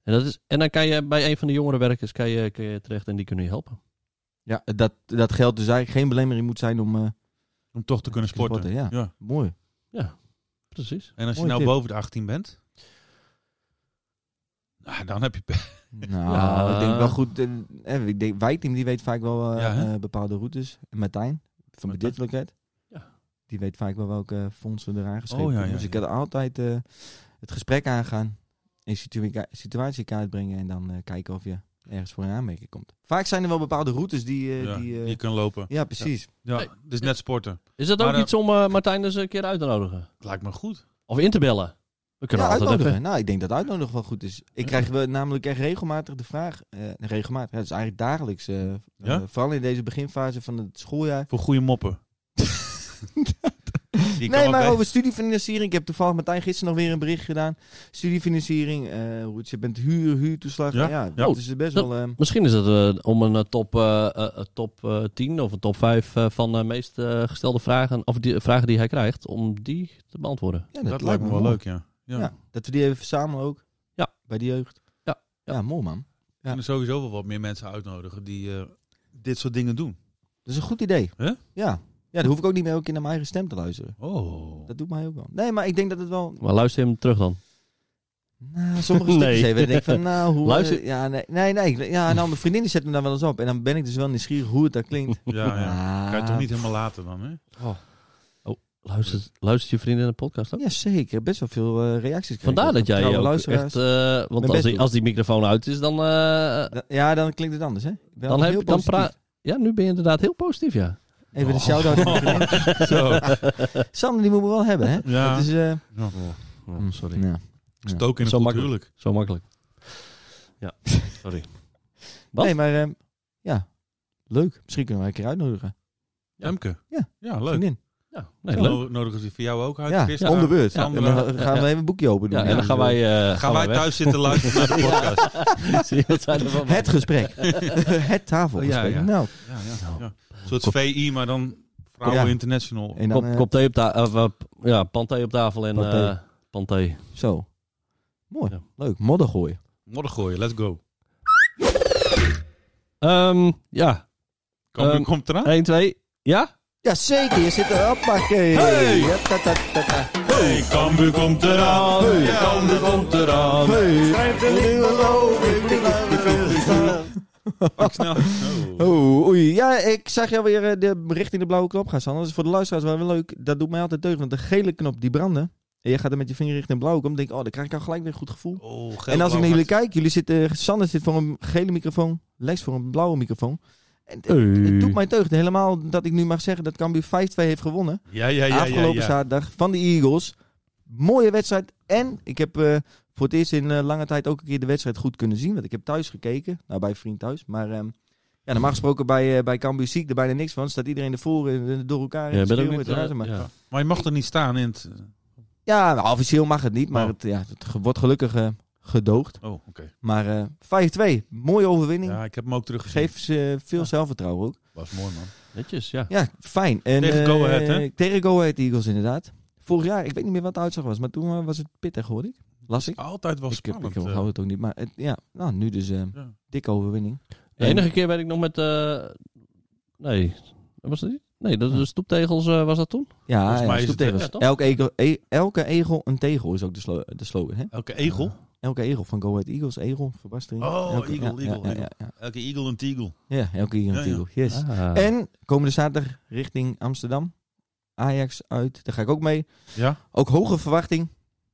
Speaker 1: en, dat is, en dan kan je bij een van de jongere werkers kan je, kan je terecht en die kunnen je helpen.
Speaker 2: Ja, dat, dat geld dus eigenlijk geen belemmering moet zijn om... eh,
Speaker 3: Om toch te kunnen sporten.
Speaker 2: Sporten, ja. mooi.
Speaker 1: Precies.
Speaker 3: En als je
Speaker 2: Mooie
Speaker 3: nou
Speaker 2: tip.
Speaker 3: boven de 18 bent... Nou, dan heb je pech.
Speaker 2: Nou,
Speaker 1: Ja.
Speaker 2: ik denk wel goed. eh, eh, ik denk, Wijkteam die weet vaak wel eh,
Speaker 3: Ja, hè?
Speaker 2: eh, bepaalde routes. En Martijn van
Speaker 3: Martijn.
Speaker 2: Beditelijkheid.
Speaker 1: Ja.
Speaker 2: Die weet vaak wel welke fondsen er aangeschreven
Speaker 3: Oh, ja,
Speaker 2: worden.
Speaker 3: ja,
Speaker 2: Dus ik
Speaker 3: ja.
Speaker 2: had altijd eh, het gesprek aangaan. In situa- situatiekaart brengen. En dan eh, kijken of je ergens voor een aanmerking komt. Vaak zijn er wel bepaalde routes die... eh,
Speaker 3: ja,
Speaker 2: die, eh,
Speaker 3: je kan lopen.
Speaker 2: ja, precies.
Speaker 3: Ja,
Speaker 1: Nee.
Speaker 3: dus net sporten.
Speaker 1: Is dat
Speaker 3: Maar,
Speaker 1: ook
Speaker 3: eh,
Speaker 1: iets om eh, Martijn eens een keer uit te nodigen?
Speaker 3: Het lijkt me goed.
Speaker 1: Of in te bellen? We
Speaker 2: Ja,
Speaker 1: kunnen altijd
Speaker 2: uitnodigen.
Speaker 1: even.
Speaker 2: Nou, ik denk dat uitnodigen wel goed is. Ik krijg wel namelijk echt regelmatig de vraag. eh, regelmatig. Ja, dat is eigenlijk dagelijks. eh, eh,
Speaker 3: Ja?
Speaker 2: vooral in deze beginfase van het schooljaar.
Speaker 3: Voor goede moppen. Die kan
Speaker 2: nee,
Speaker 3: wel
Speaker 2: maar
Speaker 3: bij-
Speaker 2: over studiefinanciering. Ik heb toevallig Martijn gisteren nog weer een bericht gedaan. Studiefinanciering, eh, hoe het zit met huur, huurtoeslag.
Speaker 3: Ja,
Speaker 2: Ja,
Speaker 3: ja.
Speaker 2: dat is best wel... ehm,
Speaker 1: Misschien is het eh, om een eh, top, eh, eh, top eh, 10 of een top 5 eh, van de meest eh, gestelde vragen, of die, vragen die hij krijgt, om die te beantwoorden.
Speaker 2: ja,
Speaker 3: Dat, lijkt me wel
Speaker 2: mooi.
Speaker 3: leuk, ja. Ja.
Speaker 2: Ja. dat we die even verzamelen ook.
Speaker 1: Ja.
Speaker 2: Bij de jeugd.
Speaker 1: Ja, ja.
Speaker 2: Ja, mooi man.
Speaker 3: We kunnen sowieso wel wat meer mensen uitnodigen die eh, dit soort dingen doen.
Speaker 2: Dat is een goed idee.
Speaker 3: Hè?
Speaker 2: Ja. Ja, dan hoef ik ook niet meer ook in naar mijn eigen stem te luisteren.
Speaker 3: Oh.
Speaker 2: Dat doet mij ook wel. Nee, maar ik denk dat het wel...
Speaker 1: Maar luister hem terug dan.
Speaker 2: Nou, sommige
Speaker 1: Nee.
Speaker 2: stukjes even. Dan denk ik van, nou, hoe...
Speaker 1: Luister-
Speaker 2: eh, Ja, nee, nee. nee ja, nou, mijn vriendin die zet me daar wel eens op. En dan ben ik dus wel nieuwsgierig hoe het daar klinkt.
Speaker 3: Ja, ja.
Speaker 2: Ah.
Speaker 3: Kan je toch niet helemaal laten dan, hè?
Speaker 1: Luistert, luistert je vrienden naar de podcast ook?
Speaker 2: Ja, zeker. Best wel veel eh, reacties krijgen.
Speaker 1: Vandaar dat jij ook
Speaker 2: luisteraars.
Speaker 1: echt... eh, want
Speaker 2: best
Speaker 1: als die,
Speaker 2: doet.
Speaker 1: als die microfoon uit is, dan... eh,
Speaker 2: Da- Ja, dan klinkt het anders, hè? Ik
Speaker 1: dan
Speaker 2: ben wel
Speaker 1: heb,
Speaker 2: heel
Speaker 1: dan
Speaker 2: positief.
Speaker 1: praat... Oh. Ja, nu ben je inderdaad heel positief, ja.
Speaker 2: Even de shout-out. aan mijn vriendin.
Speaker 3: Zo.
Speaker 2: Sander, die moet we wel hebben, hè?
Speaker 3: Ja.
Speaker 2: Dat is, eh, Mm,
Speaker 1: Oh, sorry.
Speaker 2: ja.
Speaker 3: Stoken in
Speaker 1: Zo
Speaker 3: een goed
Speaker 1: makkelijk.
Speaker 3: huwelijk.
Speaker 1: Zo makkelijk. Ja, sorry. Wat?
Speaker 2: Nee, maar ehm, ja, leuk. Misschien kunnen we haar een keer uitnodigen.
Speaker 1: Ja.
Speaker 3: Emke.
Speaker 2: Ja.
Speaker 3: Ja, leuk.
Speaker 2: Vriendin.
Speaker 1: Ja, nee,
Speaker 3: Zo
Speaker 1: leuk.
Speaker 3: no- Nodigen ze voor jou ook uit?
Speaker 2: Ja,
Speaker 3: Christa?
Speaker 2: om de beurt.
Speaker 3: Ja,
Speaker 2: En dan
Speaker 3: Sandra.
Speaker 2: gaan we
Speaker 1: Ja.
Speaker 2: even een boekje open doen.
Speaker 1: Ja, en dan gaan wij, eh,
Speaker 3: Gaan wij
Speaker 1: weg.
Speaker 3: thuis zitten luisteren naar de podcast?
Speaker 1: Zie je wat zij ervan
Speaker 2: Het gesprek. het tafelgesprek.
Speaker 3: Oh, ja, ja.
Speaker 2: Nou,
Speaker 3: Ja, ja, ja. Een soort VI, maar dan Vrouwen
Speaker 2: Ja.
Speaker 3: International.
Speaker 2: en dan,
Speaker 1: Kop,
Speaker 2: eh,
Speaker 1: kop thee op tafel. ja, pan thee op tafel en
Speaker 2: Pan thee.
Speaker 1: eh, pan thee.
Speaker 2: zo. Mooi.
Speaker 1: Ja.
Speaker 2: Leuk. Modder gooien.
Speaker 3: Modder gooien, let's go.
Speaker 1: Ehm, ja,
Speaker 3: Kom,
Speaker 1: Ehm,
Speaker 3: komt eraan?
Speaker 1: 1, 2. Ja?
Speaker 2: Ja, zeker. Je zit erop, pakken.
Speaker 3: Hey!
Speaker 2: Ja, ta, ta, ta, ta.
Speaker 3: Hey, Cambuur komt eraan. Hey, Cambuur komt eraan.
Speaker 2: Hey.
Speaker 3: Pak snel. Oh.
Speaker 2: Oh, oei. Ja, ik zag jou weer eh, de richting de blauwe knop gaan, Sander. Dat is voor de luisteraars wel weer leuk. Dat doet mij altijd deugd, want de gele knop die brandde. En je gaat er met je vinger richting de blauwe knop. denk ik, oh, dan krijg ik al gelijk weer een goed gevoel.
Speaker 3: Oh, geel,
Speaker 2: en als ik
Speaker 3: blauw,
Speaker 2: naar jullie
Speaker 3: hard.
Speaker 2: kijk, jullie zitten, eh, Sander zit voor een gele microfoon, Lex voor een blauwe microfoon. En het, het
Speaker 1: Hey.
Speaker 2: doet mij deugd helemaal dat ik nu mag zeggen dat Cambuur 5-2 heeft gewonnen.
Speaker 3: Ja, ja, ja. ja,
Speaker 2: afgelopen
Speaker 3: ja.
Speaker 2: zaterdag van de Eagles. Mooie wedstrijd. En ik heb eh, voor het eerst in eh, lange tijd ook een keer de wedstrijd goed kunnen zien. Want ik heb thuis gekeken. Nou, bij een vriend thuis. Maar ehm, ja, normaal gesproken bij, eh, bij Cambuur zie ik er bijna niks van. Staat iedereen ervoor en eh, door elkaar. en
Speaker 1: Ja, ben
Speaker 2: schreeuwen
Speaker 1: ook niet...
Speaker 2: en razen,
Speaker 1: eh,
Speaker 2: maar-
Speaker 1: ja.
Speaker 3: Maar je mag er niet staan in het...
Speaker 2: ja, nou, officieel mag het niet. Maar
Speaker 3: Oh.
Speaker 2: het, ja, het ge- wordt gelukkig eh, gedoogd.
Speaker 3: Oh, oké.
Speaker 2: Maar eh 5-2. Mooie overwinning.
Speaker 3: Ja, ik heb hem ook teruggezien.
Speaker 2: Geeft ze eh, veel
Speaker 3: Ja.
Speaker 2: zelfvertrouwen ook.
Speaker 3: Was mooi, man.
Speaker 1: Netjes, ja.
Speaker 2: Ja, fijn. En,
Speaker 3: Tegen
Speaker 2: eh,
Speaker 3: Go Ahead, hè?
Speaker 2: Tegen Go Ahead Eagles, inderdaad. Vorig jaar, ik weet niet meer wat de uitslag was, maar toen eh, was het pittig, hoorde ik. Las ik.
Speaker 3: Altijd wel
Speaker 2: ik, heb,
Speaker 3: Oh, spannend. eh.
Speaker 2: ik hou het ook niet, maar het- ja, nou, nu dus eh,
Speaker 3: Ja.
Speaker 2: dikke overwinning.
Speaker 1: De enige keer weet ik nog met... eh, nee, was dat niet? Nee, dat de stoeptegels eh, was dat toen?
Speaker 2: Ja,
Speaker 3: Volgens mij
Speaker 2: ja,
Speaker 3: is het- eh,
Speaker 2: stoeptegels.
Speaker 1: ja, toch?
Speaker 2: elke, egel, e- elke egel een tegel is ook de, slo de slogan, hè?
Speaker 3: Elke egel.
Speaker 2: Elke egel van Go Ahead Eagles, egel, verbastering.
Speaker 3: Oh,
Speaker 2: elke,
Speaker 3: eagle,
Speaker 2: ja,
Speaker 3: eagle,
Speaker 2: ja, ja, ja,
Speaker 3: Elke eagle een tegel.
Speaker 2: ja. Ja, elke egel een
Speaker 3: Ja, ja.
Speaker 2: tegel, yes.
Speaker 1: Ah.
Speaker 2: En komende zaterdag richting Amsterdam. Ajax uit, daar ga ik ook mee.
Speaker 3: Ja?
Speaker 2: Ook hoge verwachting.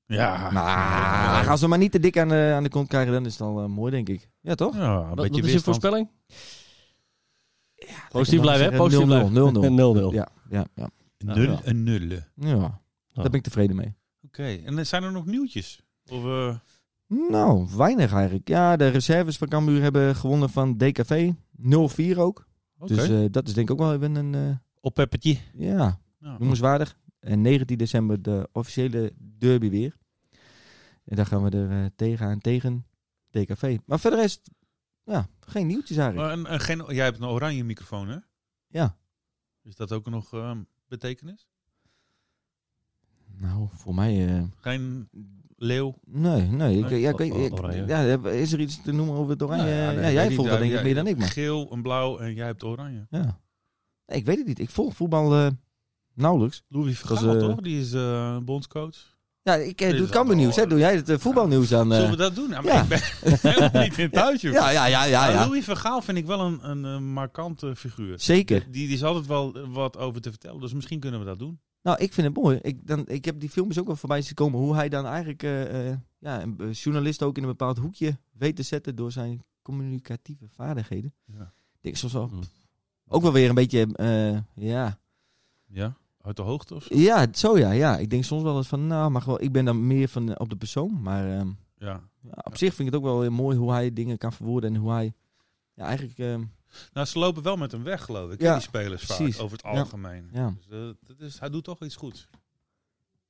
Speaker 3: Ja.
Speaker 2: Maar als we maar niet te dik aan de, aan de kont krijgen, dan is het al eh, mooi, denk ik. Ja, toch?
Speaker 3: Ja, een
Speaker 1: Wat, wat
Speaker 3: beetje
Speaker 1: is je
Speaker 3: weerstand.
Speaker 1: voorspelling?
Speaker 2: Ik
Speaker 1: Positief blijven, hè?
Speaker 2: mag
Speaker 1: Positief
Speaker 2: zeggen
Speaker 1: blijven.
Speaker 2: 0-0, 0-0.
Speaker 1: 0-0.
Speaker 2: Ja, ja, Nou, ja.
Speaker 3: Een nul, een nulle. Oké,
Speaker 2: ja. daar ben ik tevreden mee.
Speaker 3: en eh, zijn er nog nieuwtjes? Of, eh,
Speaker 2: Nou, weinig eigenlijk. Ja, de reserves van Cambuur hebben gewonnen van DKV. 0-4 ook.
Speaker 3: Oké.
Speaker 2: Dus eh, dat is denk ik ook wel even een, eh,
Speaker 3: op peppertje.
Speaker 2: ja,
Speaker 3: Ja.
Speaker 2: noemenswaardig. En 19 december de officiële derby weer. En daar gaan we er eh, tegen aan tegen DKV. Maar verder is het, ja, geen nieuwtjes eigenlijk.
Speaker 3: Maar een- een geen, jij hebt een oranje microfoon, hè?
Speaker 2: Ja.
Speaker 3: Is dat ook nog eh, betekenis?
Speaker 2: Nou, voor mij... eh,
Speaker 3: Geen leeuw?
Speaker 2: Nee, nee. Ik,
Speaker 3: Nee?
Speaker 2: ja, ik,
Speaker 1: O- o-
Speaker 2: ik-
Speaker 1: oranje.
Speaker 2: ja, is er iets te noemen over het oranje?
Speaker 3: Nou,
Speaker 2: ja,
Speaker 3: nee, weet
Speaker 2: jij
Speaker 3: niet.
Speaker 2: volgt dat denk
Speaker 3: Ja,
Speaker 2: ik
Speaker 3: jij-
Speaker 2: meer dan ik, maar...
Speaker 3: Geel, een blauw en jij hebt oranje.
Speaker 2: Ja. Nee, ik weet het niet. Ik volg voetbal eh, nauwelijks.
Speaker 3: Louis van
Speaker 2: Dat is,
Speaker 3: Gaal,
Speaker 2: eh,
Speaker 3: toch? Die is eh, bondscoach.
Speaker 2: Ja, ik eh,
Speaker 3: Dit
Speaker 2: doe
Speaker 3: is
Speaker 2: het nieuws. Hè?
Speaker 3: allemaal-
Speaker 2: Doe jij het eh, voetbalnieuws aan... eh,
Speaker 3: Zullen we dat doen? Nou, maar
Speaker 2: ja.
Speaker 3: Ik ben helemaal niet in thuis, joh.
Speaker 2: ja, ja, ja, ja.
Speaker 3: Maar
Speaker 2: ja.
Speaker 3: Louis van Gaal vind ik wel een, een, eh, markante figuur.
Speaker 2: Zeker.
Speaker 3: Die, die is altijd wel eh, wat over te vertellen, dus misschien kunnen we dat doen.
Speaker 2: Nou, ik vind het mooi. Ik, dan, ik heb die filmpjes ook wel voorbij zien komen. Hoe hij dan eigenlijk eh, eh, ja, een eh, journalist ook in een bepaald hoekje weet te zetten door zijn communicatieve vaardigheden.
Speaker 3: Ja. Hm.
Speaker 2: Ik denk soms wel...
Speaker 1: Mm.
Speaker 2: Ook wel weer een beetje... eh, ja,
Speaker 3: Ja, uit de hoogte of zo?
Speaker 2: Ja, zo ja, ja. Ik denk soms wel eens van, nou, mag wel. Ik ben dan meer van eh, op de persoon, maar ehm,
Speaker 3: Ja.
Speaker 2: ja, op zich vind ik het ook wel heel mooi hoe hij dingen kan verwoorden en hoe hij, ja, eigenlijk, ehm,
Speaker 3: Nou, ze lopen wel met hem weg, geloof ik, hè,
Speaker 2: Ja,
Speaker 3: die spelers
Speaker 2: precies.
Speaker 3: vaak, over het
Speaker 2: Ja.
Speaker 3: algemeen.
Speaker 2: ja,
Speaker 3: Dus, eh, dat is, hij doet toch iets goeds.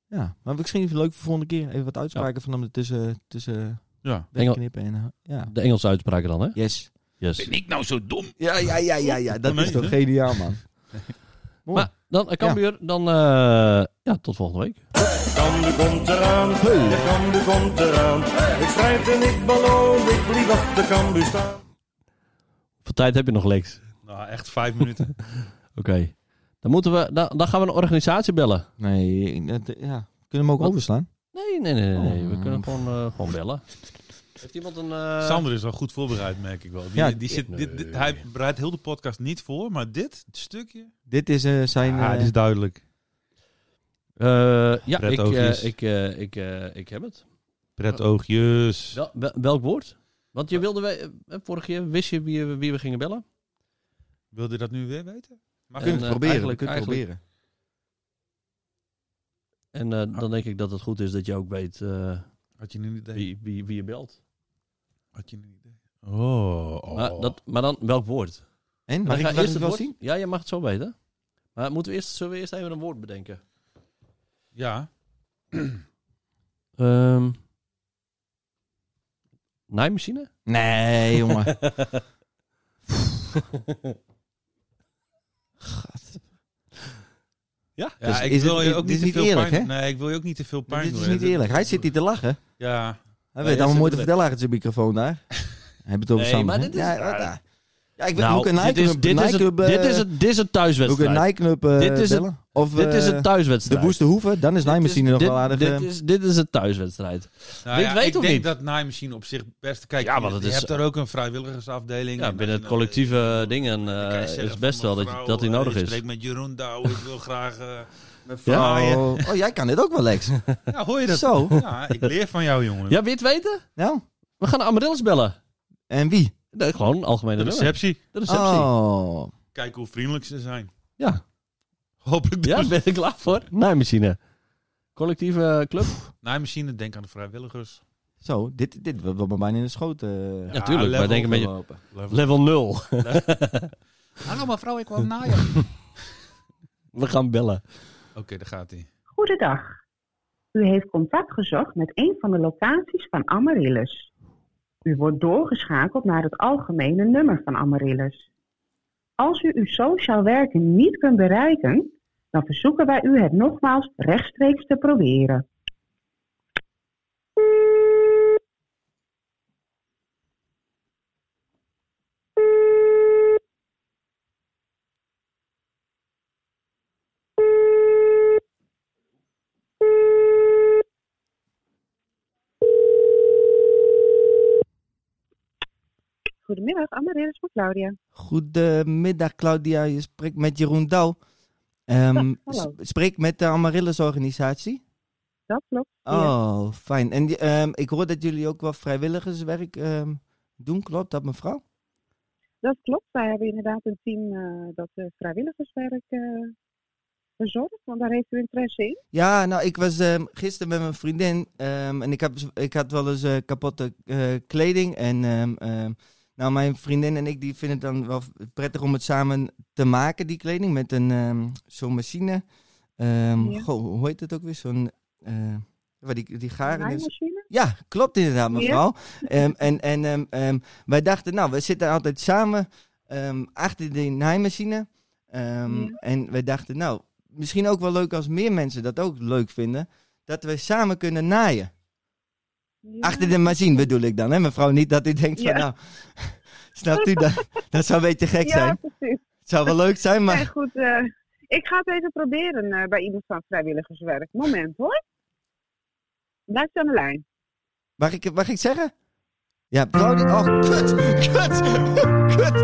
Speaker 2: ja. Maar misschien is het leuk voor volgende keer even wat uitspraken van hem tussen, tussen
Speaker 3: Ja.
Speaker 1: Engel-
Speaker 2: wegknippen en, eh, ja,
Speaker 1: De Engelse uitspraken dan, hè?
Speaker 2: yes.
Speaker 1: Yes.
Speaker 3: ik nou zo dom?
Speaker 2: Ja, ja, ja, ja, ja. Dat
Speaker 3: Nee,
Speaker 2: is toch
Speaker 3: hè?
Speaker 2: geniaal, man. Mooi.
Speaker 1: Maar dan, eh, Cambuur, dan eh, ja, tot volgende week.
Speaker 6: Kamde komt eraan, de Kamde komt eraan. Ik strijd en ik beloof, ik blijf achter Kambu staan.
Speaker 1: Voor tijd heb je nog Lex.
Speaker 3: Nou, echt vijf minuten.
Speaker 1: Oké. Dan, moeten we, dan, dan gaan we een organisatie bellen.
Speaker 2: nee, dat, eh, ja. Kunnen we hem ook
Speaker 1: Wat?
Speaker 2: overslaan?
Speaker 1: Nee, nee, nee. nee. We
Speaker 2: Oh.
Speaker 1: kunnen gewoon, eh, gewoon bellen. Heeft iemand een... eh,
Speaker 3: Sander is wel goed voorbereid, merk ik wel. Die,
Speaker 2: Ja,
Speaker 3: die zit, dit, dit-
Speaker 1: nee.
Speaker 3: hij bereidt heel de podcast niet voor, maar dit stukje... Ah,
Speaker 2: Dit is eh, zijn... eh,
Speaker 3: duidelijk.
Speaker 1: eh, ja,
Speaker 3: Red
Speaker 1: ik, eh,
Speaker 3: oogjes.
Speaker 1: ik, eh, ik, eh, ik heb het.
Speaker 3: Pret oogjes.
Speaker 1: Wel- wel- welk woord? Want je wilde... we- eh, vorige keer wist je wie, we- wie we gingen bellen.
Speaker 3: Wilde je dat nu weer weten? Mag
Speaker 2: we
Speaker 1: En,
Speaker 2: kunnen
Speaker 1: eh,
Speaker 2: het proberen, we
Speaker 1: eigenlijk-
Speaker 2: kunnen het
Speaker 1: eigenlijk-
Speaker 2: proberen.
Speaker 1: En eh, dan denk ik dat het goed is dat je ook weet eh,
Speaker 3: Had je een idee?
Speaker 1: wie, wie, wie je belt.
Speaker 3: Had je een idee? Oh. oh.
Speaker 1: Maar, dat, maar dan welk woord?
Speaker 2: En,
Speaker 1: Dan
Speaker 2: mag ik
Speaker 1: ga
Speaker 2: laat
Speaker 1: eerst
Speaker 2: het
Speaker 1: het
Speaker 2: wel
Speaker 1: woord-
Speaker 2: zien?
Speaker 1: Ja, je mag het zo weten. Maar moeten we eerst, zullen we eerst even een woord bedenken?
Speaker 3: Ja.
Speaker 1: Ehm naaimachine?
Speaker 2: Nee, jongen.
Speaker 3: Ja,
Speaker 2: Dus
Speaker 3: ik
Speaker 2: is
Speaker 3: wil
Speaker 2: het-
Speaker 3: je
Speaker 2: dit
Speaker 3: ook
Speaker 2: is
Speaker 3: niet te
Speaker 2: niet
Speaker 3: veel
Speaker 2: eerlijk,
Speaker 3: pijn.
Speaker 2: hè?
Speaker 3: Nee, ik wil je ook niet te veel pijn
Speaker 2: Dit
Speaker 3: doen.
Speaker 2: is
Speaker 3: hè.
Speaker 2: niet
Speaker 3: Dit-
Speaker 2: eerlijk. Hij zit hier te lachen.
Speaker 3: Ja.
Speaker 2: Hij
Speaker 1: Ja,
Speaker 2: weet
Speaker 1: ja, ze
Speaker 2: allemaal mooi te
Speaker 1: doen het.
Speaker 2: vertellen achter zijn microfoon daar. Hij heeft het over
Speaker 1: Nee,
Speaker 2: Sander,
Speaker 1: maar
Speaker 2: hè?
Speaker 1: dit is-
Speaker 2: Ja, wat, ah. ja, ik weet, hoe kan
Speaker 1: Nou, dit is,
Speaker 2: Nike
Speaker 1: dit, is het, dit is het dit is een
Speaker 2: eh, Hoe kan
Speaker 1: thuiswedstrijd.
Speaker 2: Nike Club, eh,
Speaker 1: Dit is het-
Speaker 2: bellen? Of
Speaker 1: dit is
Speaker 2: eh,
Speaker 1: een
Speaker 2: de
Speaker 1: thuiswedstrijd.
Speaker 2: Woeste Hoeve, dan is
Speaker 1: Dit
Speaker 2: Nijmegen nog
Speaker 1: dit-
Speaker 2: wel aardig. eh,
Speaker 1: Dit is, dit is een thuiswedstrijd. Dit weet
Speaker 3: Nou ik
Speaker 1: of
Speaker 3: denk
Speaker 1: niet?
Speaker 3: dat naaimachine op zich best... Kijk,
Speaker 1: Ja, want
Speaker 3: je,
Speaker 1: het
Speaker 3: je
Speaker 1: is-
Speaker 3: hebt daar ook een vrijwilligersafdeling.
Speaker 1: Ja,
Speaker 3: en-
Speaker 1: binnen het
Speaker 3: en- eh,
Speaker 1: collectieve dingen eh,
Speaker 3: Dan krijg je
Speaker 1: is
Speaker 3: zelf
Speaker 1: best wel dat,
Speaker 3: mevrouw,
Speaker 1: dat die
Speaker 3: eh,
Speaker 1: nodig
Speaker 3: ik
Speaker 1: is.
Speaker 3: spreek met Jeroen Douw, ik wil graag... eh,
Speaker 2: ja?
Speaker 3: fraaien.
Speaker 2: oh, oh, jij kan dit ook wel, Lex.
Speaker 3: Ja, hoor je dat?
Speaker 2: Zo.
Speaker 3: Ja, ik leer van jou, jongen.
Speaker 1: Ja, wil je het weten?
Speaker 2: nou,
Speaker 1: We gaan Amaryllis bellen.
Speaker 2: en wie?
Speaker 1: Nee, gewoon een algemene
Speaker 3: De
Speaker 1: nummer.
Speaker 3: receptie.
Speaker 1: De receptie.
Speaker 2: Oh,
Speaker 3: Kijk hoe vriendelijk ze zijn.
Speaker 1: Ja.
Speaker 3: Hopelijk
Speaker 1: Ja,
Speaker 3: dus.
Speaker 1: ben ik klaar voor? Nijmachine. Collectieve eh, club.
Speaker 3: Naaimachine, denk aan de vrijwilligers.
Speaker 2: zo, dit, dit wordt me bijna in de schoot. eh,
Speaker 1: Ja, tuurlijk. Wij
Speaker 3: level
Speaker 1: denken
Speaker 3: te
Speaker 1: met je...
Speaker 2: lopen.
Speaker 1: Level 0.
Speaker 3: Hallo mevrouw, ik kwam na je.
Speaker 1: We gaan bellen.
Speaker 3: Oké, daar gaat hij.
Speaker 4: Goedendag. U heeft contact gezocht met een van de locaties van Amaryllis. U wordt doorgeschakeld naar het algemene nummer van Amaryllis. Als u uw sociaal werken niet kunt bereiken, dan verzoeken wij u het nogmaals rechtstreeks te proberen. Goedemiddag, Amaryllis voor Claudia.
Speaker 2: Goedemiddag Claudia, je spreekt met Jeroen Douw. Ehm,
Speaker 4: Ja, hallo.
Speaker 2: s- spreek met de Amaryllis organisatie.
Speaker 4: Dat klopt.
Speaker 2: Oh, fijn. En die- ehm, ik hoor dat jullie ook wel vrijwilligerswerk ehm, doen, klopt dat mevrouw?
Speaker 4: Dat klopt. Wij hebben inderdaad een team eh, dat eh, vrijwilligerswerk eh, verzorgt, want daar heeft u interesse in.
Speaker 2: Ja, nou ik was ehm, gisteren met mijn vriendin ehm, en ik, heb, ik had wel eens eh, kapotte eh, kleding. En ehm, ehm, nou mijn vriendin en ik die vinden het dan wel prettig om het samen te maken, die kleding, met een ehm, zo'n machine. Ehm,
Speaker 4: Ja.
Speaker 2: goh, hoe heet het ook weer? Zo'n... eh, waar die, die garen is.
Speaker 4: naaimachine.
Speaker 2: Ja, klopt inderdaad,
Speaker 4: Ja.
Speaker 2: mevrouw. Ehm, en en ehm, ehm, wij dachten, nou, we zitten altijd samen ehm, achter die naaimachine. Ehm,
Speaker 4: Ja.
Speaker 2: En wij dachten, nou, misschien ook wel leuk als meer mensen dat ook leuk vinden. Dat we samen kunnen naaien.
Speaker 4: Ja.
Speaker 2: Achter de machine bedoel ik dan, hè mevrouw? Niet dat u denkt van,
Speaker 4: Ja.
Speaker 2: nou, snapt u dat? Dat zou een beetje gek
Speaker 4: Ja,
Speaker 2: zijn.
Speaker 4: precies.
Speaker 2: Het zou wel leuk zijn,
Speaker 4: Nee,
Speaker 2: maar...
Speaker 4: goed, eh, ik ga het even proberen eh, bij iemand van vrijwilligerswerk. Moment hoor. Blijf aan de lijn.
Speaker 2: Mag ik, mag ik zeggen? Ja, Claudia... Oh, kut! Kut! Kut!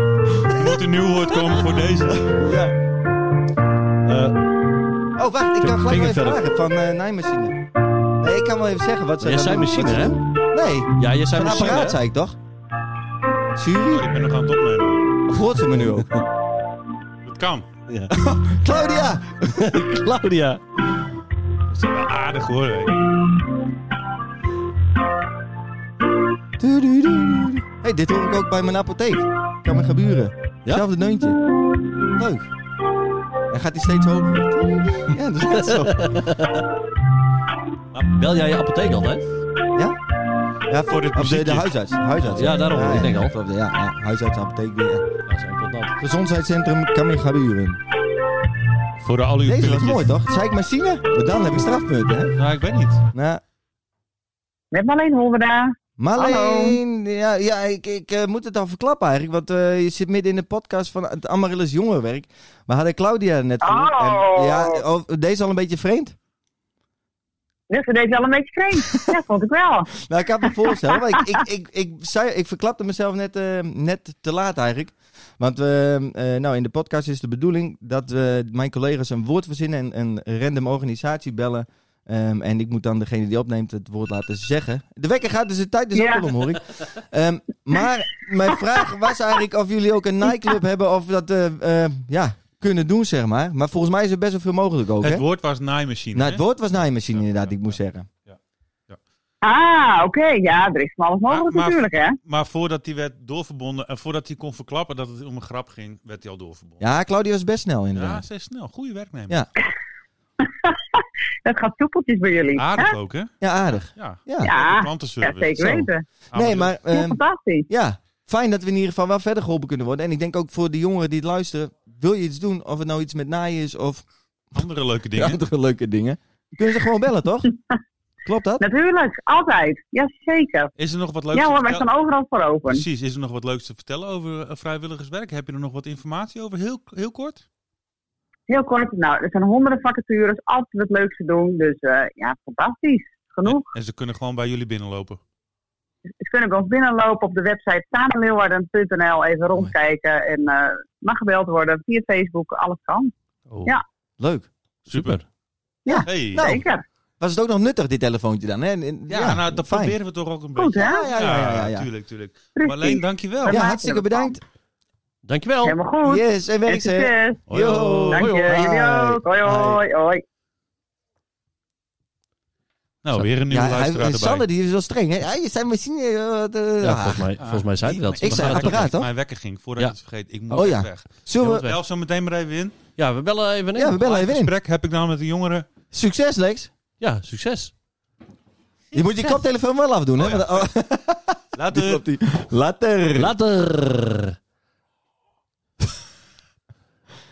Speaker 3: Er moet een nieuw woord komen voor deze.
Speaker 2: Oh, wacht, ik kan gelijk wel
Speaker 1: vingerverf.
Speaker 2: even vragen van eh naaimachine. Nee, ik kan wel even zeggen wat ze
Speaker 1: Jij
Speaker 2: dan
Speaker 1: zei
Speaker 2: doen.
Speaker 1: machine, hè?
Speaker 2: Nee,
Speaker 1: Ja, je zei
Speaker 2: een
Speaker 1: machine. hè?
Speaker 2: apparaat zei ik toch? Siri?
Speaker 3: Ik ben nog aan het opnemen.
Speaker 2: Of hoort ze me nu ook?
Speaker 3: Het kan.
Speaker 2: Claudia!
Speaker 1: Claudia.
Speaker 3: Dat is wel aardig hoor. hè.
Speaker 2: Tudududu. hey, dit hoor ik ook bij mijn apotheek. Kan mijn geburen.
Speaker 1: Ja?
Speaker 2: Hetzelfde neuntje. Leuk. En gaat die steeds hoger? Ja, dat is net zo.
Speaker 1: Maar Bel jij je apotheek altijd?
Speaker 2: Ja,
Speaker 3: Voor dit
Speaker 2: of de, de
Speaker 3: muziekje.
Speaker 2: huisarts. huisarts
Speaker 1: Ja, daarom, ik denk al.
Speaker 2: klopt, Ja, ja, huisarts, apotheek. Ja.
Speaker 1: Ja, zo komt dat.
Speaker 2: Gezondheidscentrum Kamergaburen.
Speaker 3: Voor de al uw
Speaker 2: Deze was
Speaker 3: pilletjes.
Speaker 2: mooi, toch? Zei ik machine? Maar dan heb ik strafpunten, hè?
Speaker 3: Nou, ik weet niet.
Speaker 2: Nou,
Speaker 4: Met Marleen Holverda.
Speaker 2: Maar
Speaker 4: Hallo.
Speaker 2: alleen, ja, ja ik, ik eh, moet het al verklappen eigenlijk, want eh, je zit midden in de podcast van het Amaryllis Jongerenwerk. We hadden Claudia net genoemd
Speaker 5: Hallo.
Speaker 2: En, ja, oh, deze al een beetje vreemd?
Speaker 4: Dus we deed wel een beetje vreemd. ja, vond ik wel.
Speaker 2: Nou, ik had me voorstellen, maar ik, ik, ik, ik, zei, ik verklapte mezelf net, eh, net te laat eigenlijk. Want we, eh, nou, in de podcast is de bedoeling dat we mijn collega's een woord verzinnen en een random organisatie bellen. Ehm, en ik moet dan degene die opneemt het woord laten zeggen. De wekker gaat dus de tijd dus
Speaker 4: Ja.
Speaker 2: ook al om, hoor ik. Ehm, maar mijn vraag was eigenlijk of jullie ook een nightclub hebben of we dat eh, eh, ja, kunnen doen, zeg maar. Maar volgens mij is er best wel veel mogelijk ook, hè?
Speaker 3: Het woord was naaimachine.
Speaker 2: nou, het
Speaker 3: hè?
Speaker 2: woord was naaimachine
Speaker 3: Ja,
Speaker 2: inderdaad,
Speaker 3: ja,
Speaker 2: ik moest
Speaker 3: ja.
Speaker 2: zeggen.
Speaker 4: Ah, oké. Ja, er is van alles mogelijk
Speaker 3: Maar- maar-
Speaker 4: natuurlijk hè.
Speaker 3: Maar voordat hij werd doorverbonden en voordat hij kon verklappen dat het om een grap ging, werd hij al doorverbonden.
Speaker 2: Ja, Claudia was best snel
Speaker 3: Ja,
Speaker 2: inderdaad.
Speaker 3: ze is snel. Goede werknemer.
Speaker 2: Ja.
Speaker 4: Dat gaat soepeltjes bij jullie.
Speaker 3: Aardig
Speaker 4: hè?
Speaker 3: ook, hè?
Speaker 2: Ja, aardig.
Speaker 3: Ja.
Speaker 2: Ja.
Speaker 4: Ja, ja,
Speaker 3: Klantenservice.
Speaker 4: zeker
Speaker 2: Zo.
Speaker 4: weten.
Speaker 2: nee, maar
Speaker 4: Ja,
Speaker 2: ehm,
Speaker 4: fantastisch.
Speaker 2: ja, fijn dat we in ieder geval wel verder geholpen kunnen worden. En ik denk ook voor de jongeren die het luisteren, wil je iets doen, of het nou iets met naaien is of
Speaker 3: Andere leuke dingen.
Speaker 2: andere leuke dingen, kunnen ze gewoon bellen, toch? Klopt dat?
Speaker 4: Natuurlijk, altijd. Jazeker.
Speaker 3: Is er nog wat leuks
Speaker 4: Ja
Speaker 3: te
Speaker 4: hoor, wij
Speaker 3: vertellen?
Speaker 4: staan overal voor open.
Speaker 3: Precies, is er nog wat leuks te vertellen over eh, vrijwilligerswerk? Heb je er nog wat informatie over? Heel, heel kort?
Speaker 4: Heel kort, nou, er zijn honderden vacatures, altijd wat leuks te doen. Dus eh, ja, fantastisch. Genoeg.
Speaker 3: En ze kunnen gewoon bij jullie binnenlopen.
Speaker 4: Ze Dus kunnen bij ons binnenlopen op de website samenleeuwarden.nl. Even rondkijken en eh, mag gebeld worden via Facebook, alles kan.
Speaker 1: Oh,
Speaker 4: Ja.
Speaker 2: Leuk.
Speaker 3: Super.
Speaker 2: Ja,
Speaker 3: Hey.
Speaker 2: nou,
Speaker 4: Zeker.
Speaker 2: Was het ook nog nuttig, dit telefoontje dan? Hè? En- en-
Speaker 3: ja, nou, dat
Speaker 2: fijn.
Speaker 3: proberen we toch ook een
Speaker 4: Goed,
Speaker 3: beetje.
Speaker 4: hè?
Speaker 2: Ja, ja, ja. ja, ja, ja.
Speaker 3: tuurlijk, tuurlijk.
Speaker 4: Precies.
Speaker 3: Marleen, dankjewel.
Speaker 4: Dan
Speaker 2: Ja,
Speaker 4: maak je
Speaker 2: hartstikke
Speaker 4: ervan.
Speaker 2: bedankt.
Speaker 1: Dankjewel.
Speaker 4: Helemaal goed.
Speaker 2: Yes, en
Speaker 4: En
Speaker 2: werk ze.
Speaker 4: succes.
Speaker 3: Hoi,
Speaker 2: Yo.
Speaker 3: hoi.
Speaker 4: Dank je.
Speaker 2: hoi.
Speaker 4: Jullie ook. Hoi,
Speaker 2: Hoi.
Speaker 4: hoi, hoi.
Speaker 3: Nou, weer een nieuwe
Speaker 2: Ja, hij,
Speaker 3: luisteraar erbij.
Speaker 2: Sander die is wel streng. Hè? Ja, je zijn machine. eh, wat, eh,
Speaker 1: Ja,
Speaker 2: ah.
Speaker 1: volgens mij, volgens mij zei hij dat.
Speaker 2: Ik
Speaker 1: We
Speaker 2: zei
Speaker 1: gaan het
Speaker 2: apparaat,
Speaker 1: ook-
Speaker 2: toch?
Speaker 3: Mijn wekker ging, voordat
Speaker 1: Ja.
Speaker 3: ik het vergeet. Ik moet
Speaker 2: Oh,
Speaker 3: echt
Speaker 2: ja.
Speaker 3: weg.
Speaker 2: Zullen we...
Speaker 3: Elf zo meteen maar even in.
Speaker 1: Ja, we bellen even in.
Speaker 2: Ja, we bellen even in.
Speaker 3: Gesprek heb ik nou met de jongeren.
Speaker 2: Succes, Lex.
Speaker 1: Ja, succes.
Speaker 2: Je moet je koptelefoon wel afdoen, hè?
Speaker 3: Oh, ja.
Speaker 2: want- oh, die
Speaker 3: Later.
Speaker 2: klopt die. Later.
Speaker 1: Later.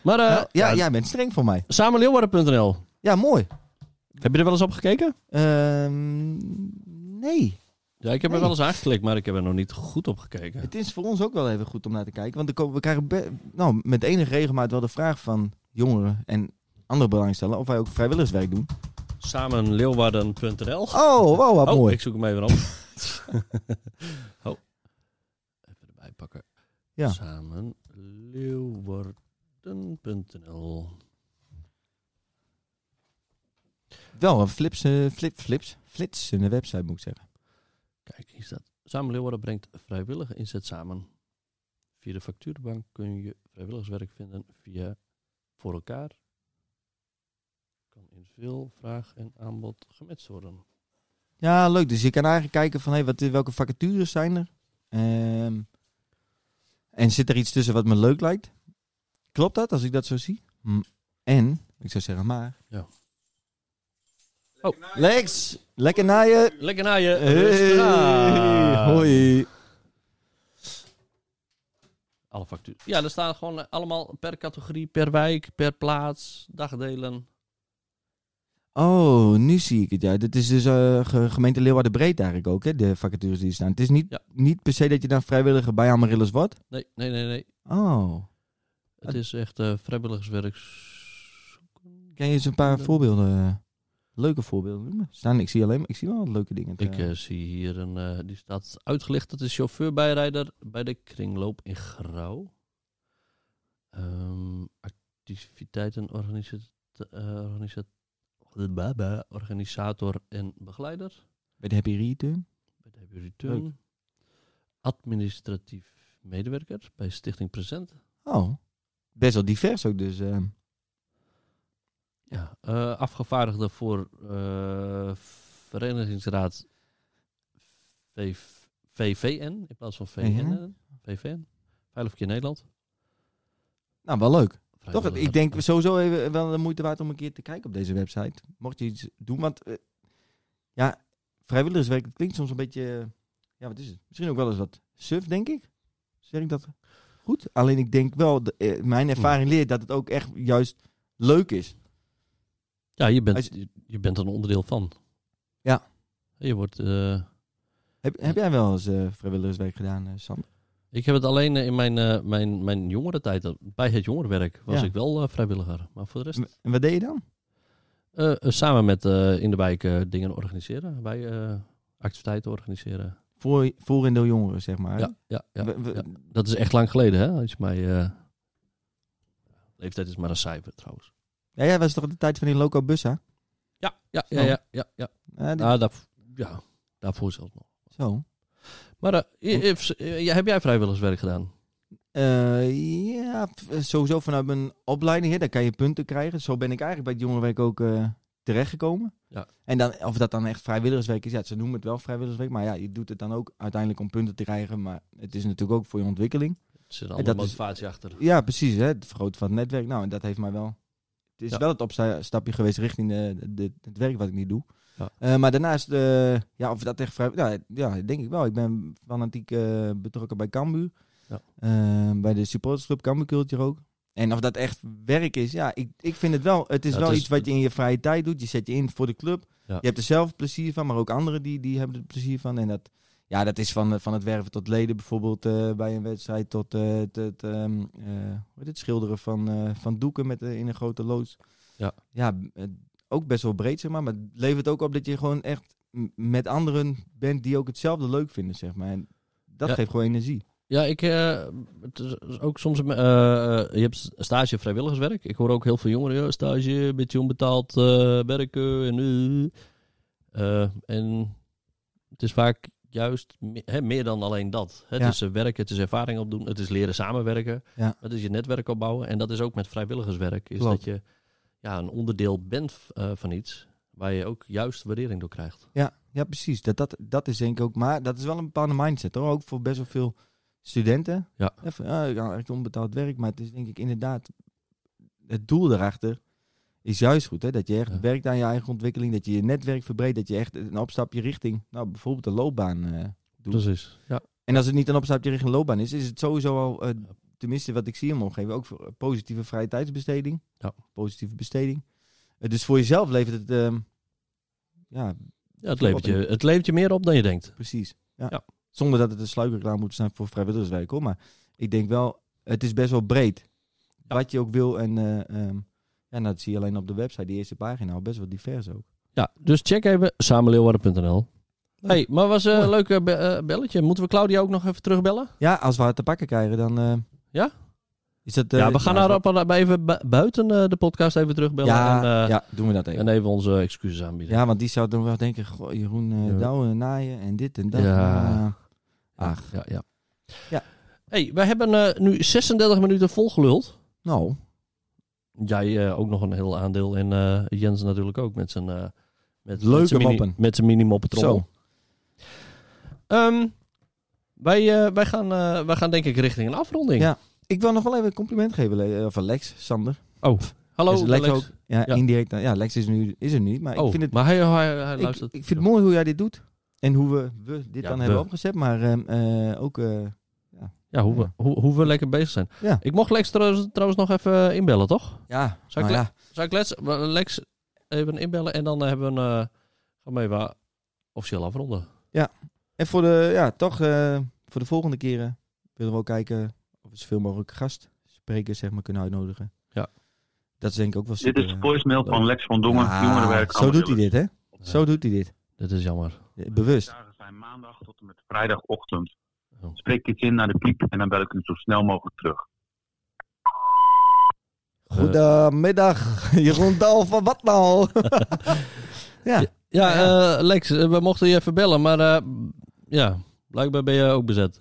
Speaker 1: Maar eh
Speaker 2: Ja, ja, jij bent streng voor mij.
Speaker 1: samenleeuwarden.nl.
Speaker 2: Ja, mooi.
Speaker 1: Heb je er wel eens op gekeken?
Speaker 2: Ehm, nee.
Speaker 1: Ja, ik heb er
Speaker 2: Nee.
Speaker 1: wel eens aangeklikt, maar ik heb er nog niet goed op gekeken.
Speaker 2: Het is voor ons ook wel even goed om naar te kijken. Want er komen- we krijgen be- nou, met enige regelmaat wel de vraag van jongeren en andere belangstellenden of wij ook vrijwilligerswerk doen.
Speaker 1: Samenleeuwarden.nl.
Speaker 2: Oh, wow, wat
Speaker 1: Oh,
Speaker 2: mooi.
Speaker 1: ik zoek hem even op. oh. Even erbij pakken.
Speaker 2: Ja.
Speaker 1: Samenleeuwarden.nl.
Speaker 2: Wel een flips, eh, flip, flips, flitsende website moet ik zeggen.
Speaker 1: Kijk, hier staat. Samen Leeuwarden brengt vrijwillige inzet samen. Via de factuurbank kun je vrijwilligerswerk vinden via voor elkaar. Kan in veel vraag en aanbod gematcht worden.
Speaker 2: Ja, leuk. Dus je kan eigenlijk kijken van hey, wat, welke vacatures zijn er. Ehm, en zit er iets tussen wat me leuk lijkt? Klopt dat als ik dat zo zie? Hm. En, ik zou zeggen maar. Oh.
Speaker 1: Ja.
Speaker 2: Lex, lekker naar je.
Speaker 1: Lekker naar je.
Speaker 2: Hey,
Speaker 1: Rustig aan.
Speaker 2: hoi.
Speaker 1: Alle facturen. Ja, er staan gewoon eh, allemaal per categorie, per wijk, per plaats, dagdelen.
Speaker 2: Oh, nu zie ik het. Ja, dit is dus eh, ge- gemeente Leeuwarden Breed eigenlijk ook, hè? De vacatures die er staan. Het is niet,
Speaker 1: Ja.
Speaker 2: niet per se dat je dan vrijwilliger bij Amarillus wordt.
Speaker 1: Nee, nee, nee, nee.
Speaker 2: Oh.
Speaker 1: Het is echt eh, vrijwilligerswerk.
Speaker 2: Kan je eens een paar voorbeelden, eh, leuke voorbeelden noemen? Staan, ik zie alleen, ik zie wel wat leuke dingen.
Speaker 1: Ik eh, zie hier een, eh, die staat uitgelicht. Dat is chauffeurbijrijder bij de kringloop in Grauw. Ehm, activiteiten, organisa- eh, organisa- blablabla, organisator en begeleider.
Speaker 2: Bij de Happy Return.
Speaker 1: Bij de Happy Return. Administratief medewerker bij Stichting Present.
Speaker 2: Oh. Best wel divers ook dus. eh.
Speaker 1: Ja, eh, afgevaardigde voor eh, Verenigingsraad VV VVN in plaats van eh, VNN. VVN. Veilig Verkeer Nederland.
Speaker 2: nou, wel leuk. Toch,
Speaker 1: Vrijwilliger.
Speaker 2: ik denk sowieso even eh, wel de moeite waard om een keer te kijken op deze website. Mocht je iets doen, want eh, ja, vrijwilligerswerk dat klinkt soms een beetje, eh, ja, wat is het? Misschien ook wel eens wat suf, denk ik. Zeg ik dat goed? Alleen ik denk wel, de- eh, mijn ervaring leert dat het ook echt juist leuk is.
Speaker 1: Ja, je
Speaker 2: Als
Speaker 1: bent, je, je bent er een onderdeel van.
Speaker 2: Ja.
Speaker 1: Je wordt, eh,
Speaker 2: Heb, heb jij wel eens eh, vrijwilligerswerk gedaan, eh, Sam?
Speaker 1: ik heb het alleen eh, in mijn, eh, mijn, mijn jongere tijd, eh, bij het jongerenwerk, was
Speaker 2: Ja.
Speaker 1: ik wel eh, vrijwilliger. Maar voor de rest,
Speaker 2: En wat deed je dan?
Speaker 1: eh, eh, samen met eh, in de wijk eh, dingen organiseren. Wij eh, activiteiten organiseren.
Speaker 2: Voor, voor in de jongeren, zeg maar.
Speaker 1: Ja, ja, ja.
Speaker 2: We- we-
Speaker 1: ja. Dat is echt lang geleden, hè? Als je mij, eh, Leeftijd is maar een cijfer trouwens.
Speaker 2: ja, jij was toch de tijd van die loco bussen?
Speaker 1: Ja, ja,
Speaker 2: Zo.
Speaker 1: ja, ja. ja, ja.
Speaker 2: Ja, Oh. die-
Speaker 1: Ah, daar- ja daarvoor zelfs nog.
Speaker 2: Zo.
Speaker 1: Maar eh, je- je- je- heb jij vrijwilligerswerk gedaan?
Speaker 2: Eh, ja, f- sowieso vanuit mijn opleiding, hè, daar kan je punten krijgen. Zo ben ik eigenlijk bij het jongerenwerk ook eh, terechtgekomen.
Speaker 1: Ja.
Speaker 2: En dan, of dat dan echt vrijwilligerswerk is, ja, ze noemen het wel vrijwilligerswerk. Maar ja, je doet het dan ook uiteindelijk om punten te krijgen. Maar het is natuurlijk ook voor je ontwikkeling.
Speaker 1: Er zit een
Speaker 2: dat
Speaker 1: andere
Speaker 2: is-
Speaker 1: motivatie achter.
Speaker 2: Ja, precies, hè, het vergroten van het netwerk. Nou, en dat heeft mij wel... Het is
Speaker 1: Ja.
Speaker 2: wel het opstapje geweest richting eh, de- het werk wat ik nu doe.
Speaker 1: Ja.
Speaker 2: Eh, maar daarnaast, eh, ja, of dat echt vrij... Ja, ja, denk ik wel. Ik ben fanatiek eh, betrokken bij Cambuur.
Speaker 1: Ja.
Speaker 2: Eh, bij de supportersclub Cambuur Culture ook. En of dat echt werk is, ja, ik, ik vind het wel. Het is
Speaker 1: Ja,
Speaker 2: wel
Speaker 1: het is-
Speaker 2: iets wat je in je vrije tijd doet. Je zet je in voor de club.
Speaker 1: Ja.
Speaker 2: Je hebt er zelf plezier van, maar ook anderen die, die hebben er plezier van. En dat, Ja, dat is van, eh, van het werven tot leden bijvoorbeeld eh, bij een wedstrijd. Tot eh, het, het, ehm, eh, hoe heet het schilderen van, eh, van doeken met, eh, in een grote loods.
Speaker 1: Ja.
Speaker 2: ja b- eh, ook best wel breed zeg maar. Maar het levert ook op dat je gewoon echt m- met anderen bent die ook hetzelfde leuk vinden zeg maar. En dat
Speaker 1: Ja.
Speaker 2: geeft gewoon energie.
Speaker 1: Ja, ik, eh, het is ook soms. eh, je hebt stage vrijwilligerswerk. Ik hoor ook heel veel jongeren. Ja, stage, een beetje onbetaald eh, werken. En, eh, eh, en het is vaak juist me- hè, meer dan alleen dat. Het
Speaker 2: Ja.
Speaker 1: is eh, werken, het is ervaring opdoen, het is leren samenwerken.
Speaker 2: Ja.
Speaker 1: Het is je netwerk opbouwen. En dat is ook met vrijwilligerswerk. Is
Speaker 2: Klopt.
Speaker 1: dat je ja, een onderdeel bent eh, van iets waar je ook juist waardering door krijgt.
Speaker 2: Ja, ja precies. Dat, dat, dat is denk ik ook. Maar dat is wel een bepaalde mindset hoor. Ook voor best wel veel studenten.
Speaker 1: Ja.
Speaker 2: Even, ah, ik ga echt onbetaald werk. Maar het is denk ik inderdaad. Het doel daarachter is juist goed. Hè? Dat je echt
Speaker 1: Ja.
Speaker 2: werkt aan je eigen ontwikkeling. Dat je je netwerk verbreedt. Dat je echt een opstapje richting. Nou, bijvoorbeeld de loopbaan. eh.
Speaker 1: Precies. Ja.
Speaker 2: En als het niet een opstapje richting een loopbaan is. Is het sowieso al. eh, tenminste, wat ik zie hem omgeven. Ook voor eh, positieve vrije tijdsbesteding.
Speaker 1: Ja.
Speaker 2: Positieve besteding. Eh, dus voor jezelf levert het. ehm, ja,
Speaker 1: Ja, het, levert je, het levert je meer op dan je denkt.
Speaker 2: Precies. Ja.
Speaker 1: Ja.
Speaker 2: Zonder dat het een sluikreclame moet zijn voor vrijwilligerswerk hoor. Maar ik denk wel, het is best wel breed. Wat je ook wil. En eh, ehm, ja, nou, dat zie je alleen op de website, die eerste pagina, al best wel divers ook.
Speaker 1: Ja, dus check even samenleeuwarden.nl. Hey, maar was eh, een leuk eh, be- eh, belletje. Moeten we Claudia ook nog even terugbellen?
Speaker 2: Ja, als we haar te pakken krijgen, dan. eh,
Speaker 1: Ja?
Speaker 2: Is dat, eh,
Speaker 1: ja, we gaan
Speaker 2: nou,
Speaker 1: haar op, maar even bu- buiten eh, de podcast even terugbellen.
Speaker 2: Ja,
Speaker 1: en, eh,
Speaker 2: ja, doen we dat even.
Speaker 1: en even onze excuses aanbieden.
Speaker 2: Ja, want die zou dan wel denken: goh, Jeroen eh
Speaker 1: Ja.
Speaker 2: Douwen naaien en dit en dat.
Speaker 1: Ja.
Speaker 2: Ah, ach,
Speaker 1: Ja, ja.
Speaker 2: Ja.
Speaker 1: Hey, wij hebben eh, nu 36 minuten volgeluld.
Speaker 2: nou.
Speaker 1: Jij eh, ook nog een heel aandeel. En eh, Jens natuurlijk ook met zijn... eh met,
Speaker 2: Leuke
Speaker 1: met zijn mini-
Speaker 2: moppen.
Speaker 1: Met zijn mini-moppetrommel.
Speaker 2: Zo.
Speaker 1: Ehm, wij, eh, wij, gaan, eh, wij gaan denk ik richting een afronding.
Speaker 2: Ja. Ik wil nog wel even een compliment geven, Le- eh, van Lex, Sander.
Speaker 1: Oh, hallo
Speaker 2: Is Lex,
Speaker 1: Alex.
Speaker 2: ook. Ja,
Speaker 1: Ja.
Speaker 2: indirect. dan- Ja, Lex is, nu, is er nu, maar
Speaker 1: oh,
Speaker 2: ik vind het
Speaker 1: maar hij, hij, hij
Speaker 2: Ik,
Speaker 1: luistert.
Speaker 2: ik vind het mooi hoe jij dit doet. En hoe we, we dit
Speaker 1: Ja,
Speaker 2: dan
Speaker 1: we.
Speaker 2: hebben opgezet. Maar ehm, eh, ook... eh,
Speaker 1: Ja, hoe,
Speaker 2: Ja.
Speaker 1: We, hoe, hoe we lekker bezig zijn.
Speaker 2: Ja.
Speaker 1: Ik mocht Lex trouwens, trouwens nog even eh, inbellen, toch?
Speaker 2: ja,
Speaker 1: Zou ik
Speaker 2: nou ja.
Speaker 1: Zou ik Lex, Lex even inbellen en dan hebben we een... eh, gaan we even eh, officieel afronden.
Speaker 2: En voor de, ja, toch, eh, voor de volgende keren willen we ook kijken of we zoveel mogelijk gastsprekers zeg maar, kunnen uitnodigen.
Speaker 1: Ja.
Speaker 2: Dat is denk ik ook wel
Speaker 7: Dit
Speaker 2: super. eh.
Speaker 7: is de voicemail
Speaker 1: leuk.
Speaker 7: van Lex van Dongen,
Speaker 2: Ah,
Speaker 7: jongerenwerk.
Speaker 2: Zo doet hij
Speaker 7: Amaryllis.
Speaker 2: dit, hè? Zo doet hij dit.
Speaker 1: Dit is jammer.
Speaker 2: Eh, Bewust.
Speaker 7: Dagen zijn maandag tot en met vrijdagochtend.
Speaker 1: Oh.
Speaker 7: Spreek iets in naar de piep en dan bel ik hem zo snel mogelijk terug.
Speaker 1: Eh,
Speaker 2: Goedemiddag, Jeroen Dal van wat nou? ja,
Speaker 1: Ja,
Speaker 2: Ja.
Speaker 1: eh, Lex, eh, we mochten je even bellen, maar eh, ja, blijkbaar ben je ook bezet.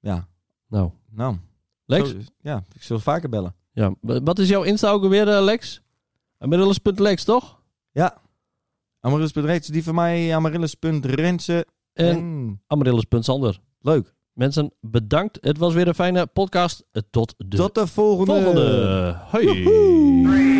Speaker 2: ja.
Speaker 1: Nou,
Speaker 2: Nou,
Speaker 1: Lex,
Speaker 2: zo- ja, ik zal vaker bellen.
Speaker 1: ja, w- wat is jouw Insta ook alweer, eh, Lex? Middels.lex, toch?
Speaker 2: Amaryllis Rents, die van mij, amaryllis.rensen.
Speaker 1: En
Speaker 2: Mm,
Speaker 1: Amaryllis.sander.
Speaker 2: leuk.
Speaker 1: Mensen, bedankt. Het was weer een fijne podcast. Eh, Tot de
Speaker 2: Tot de volgende.
Speaker 1: volgende. Hoi.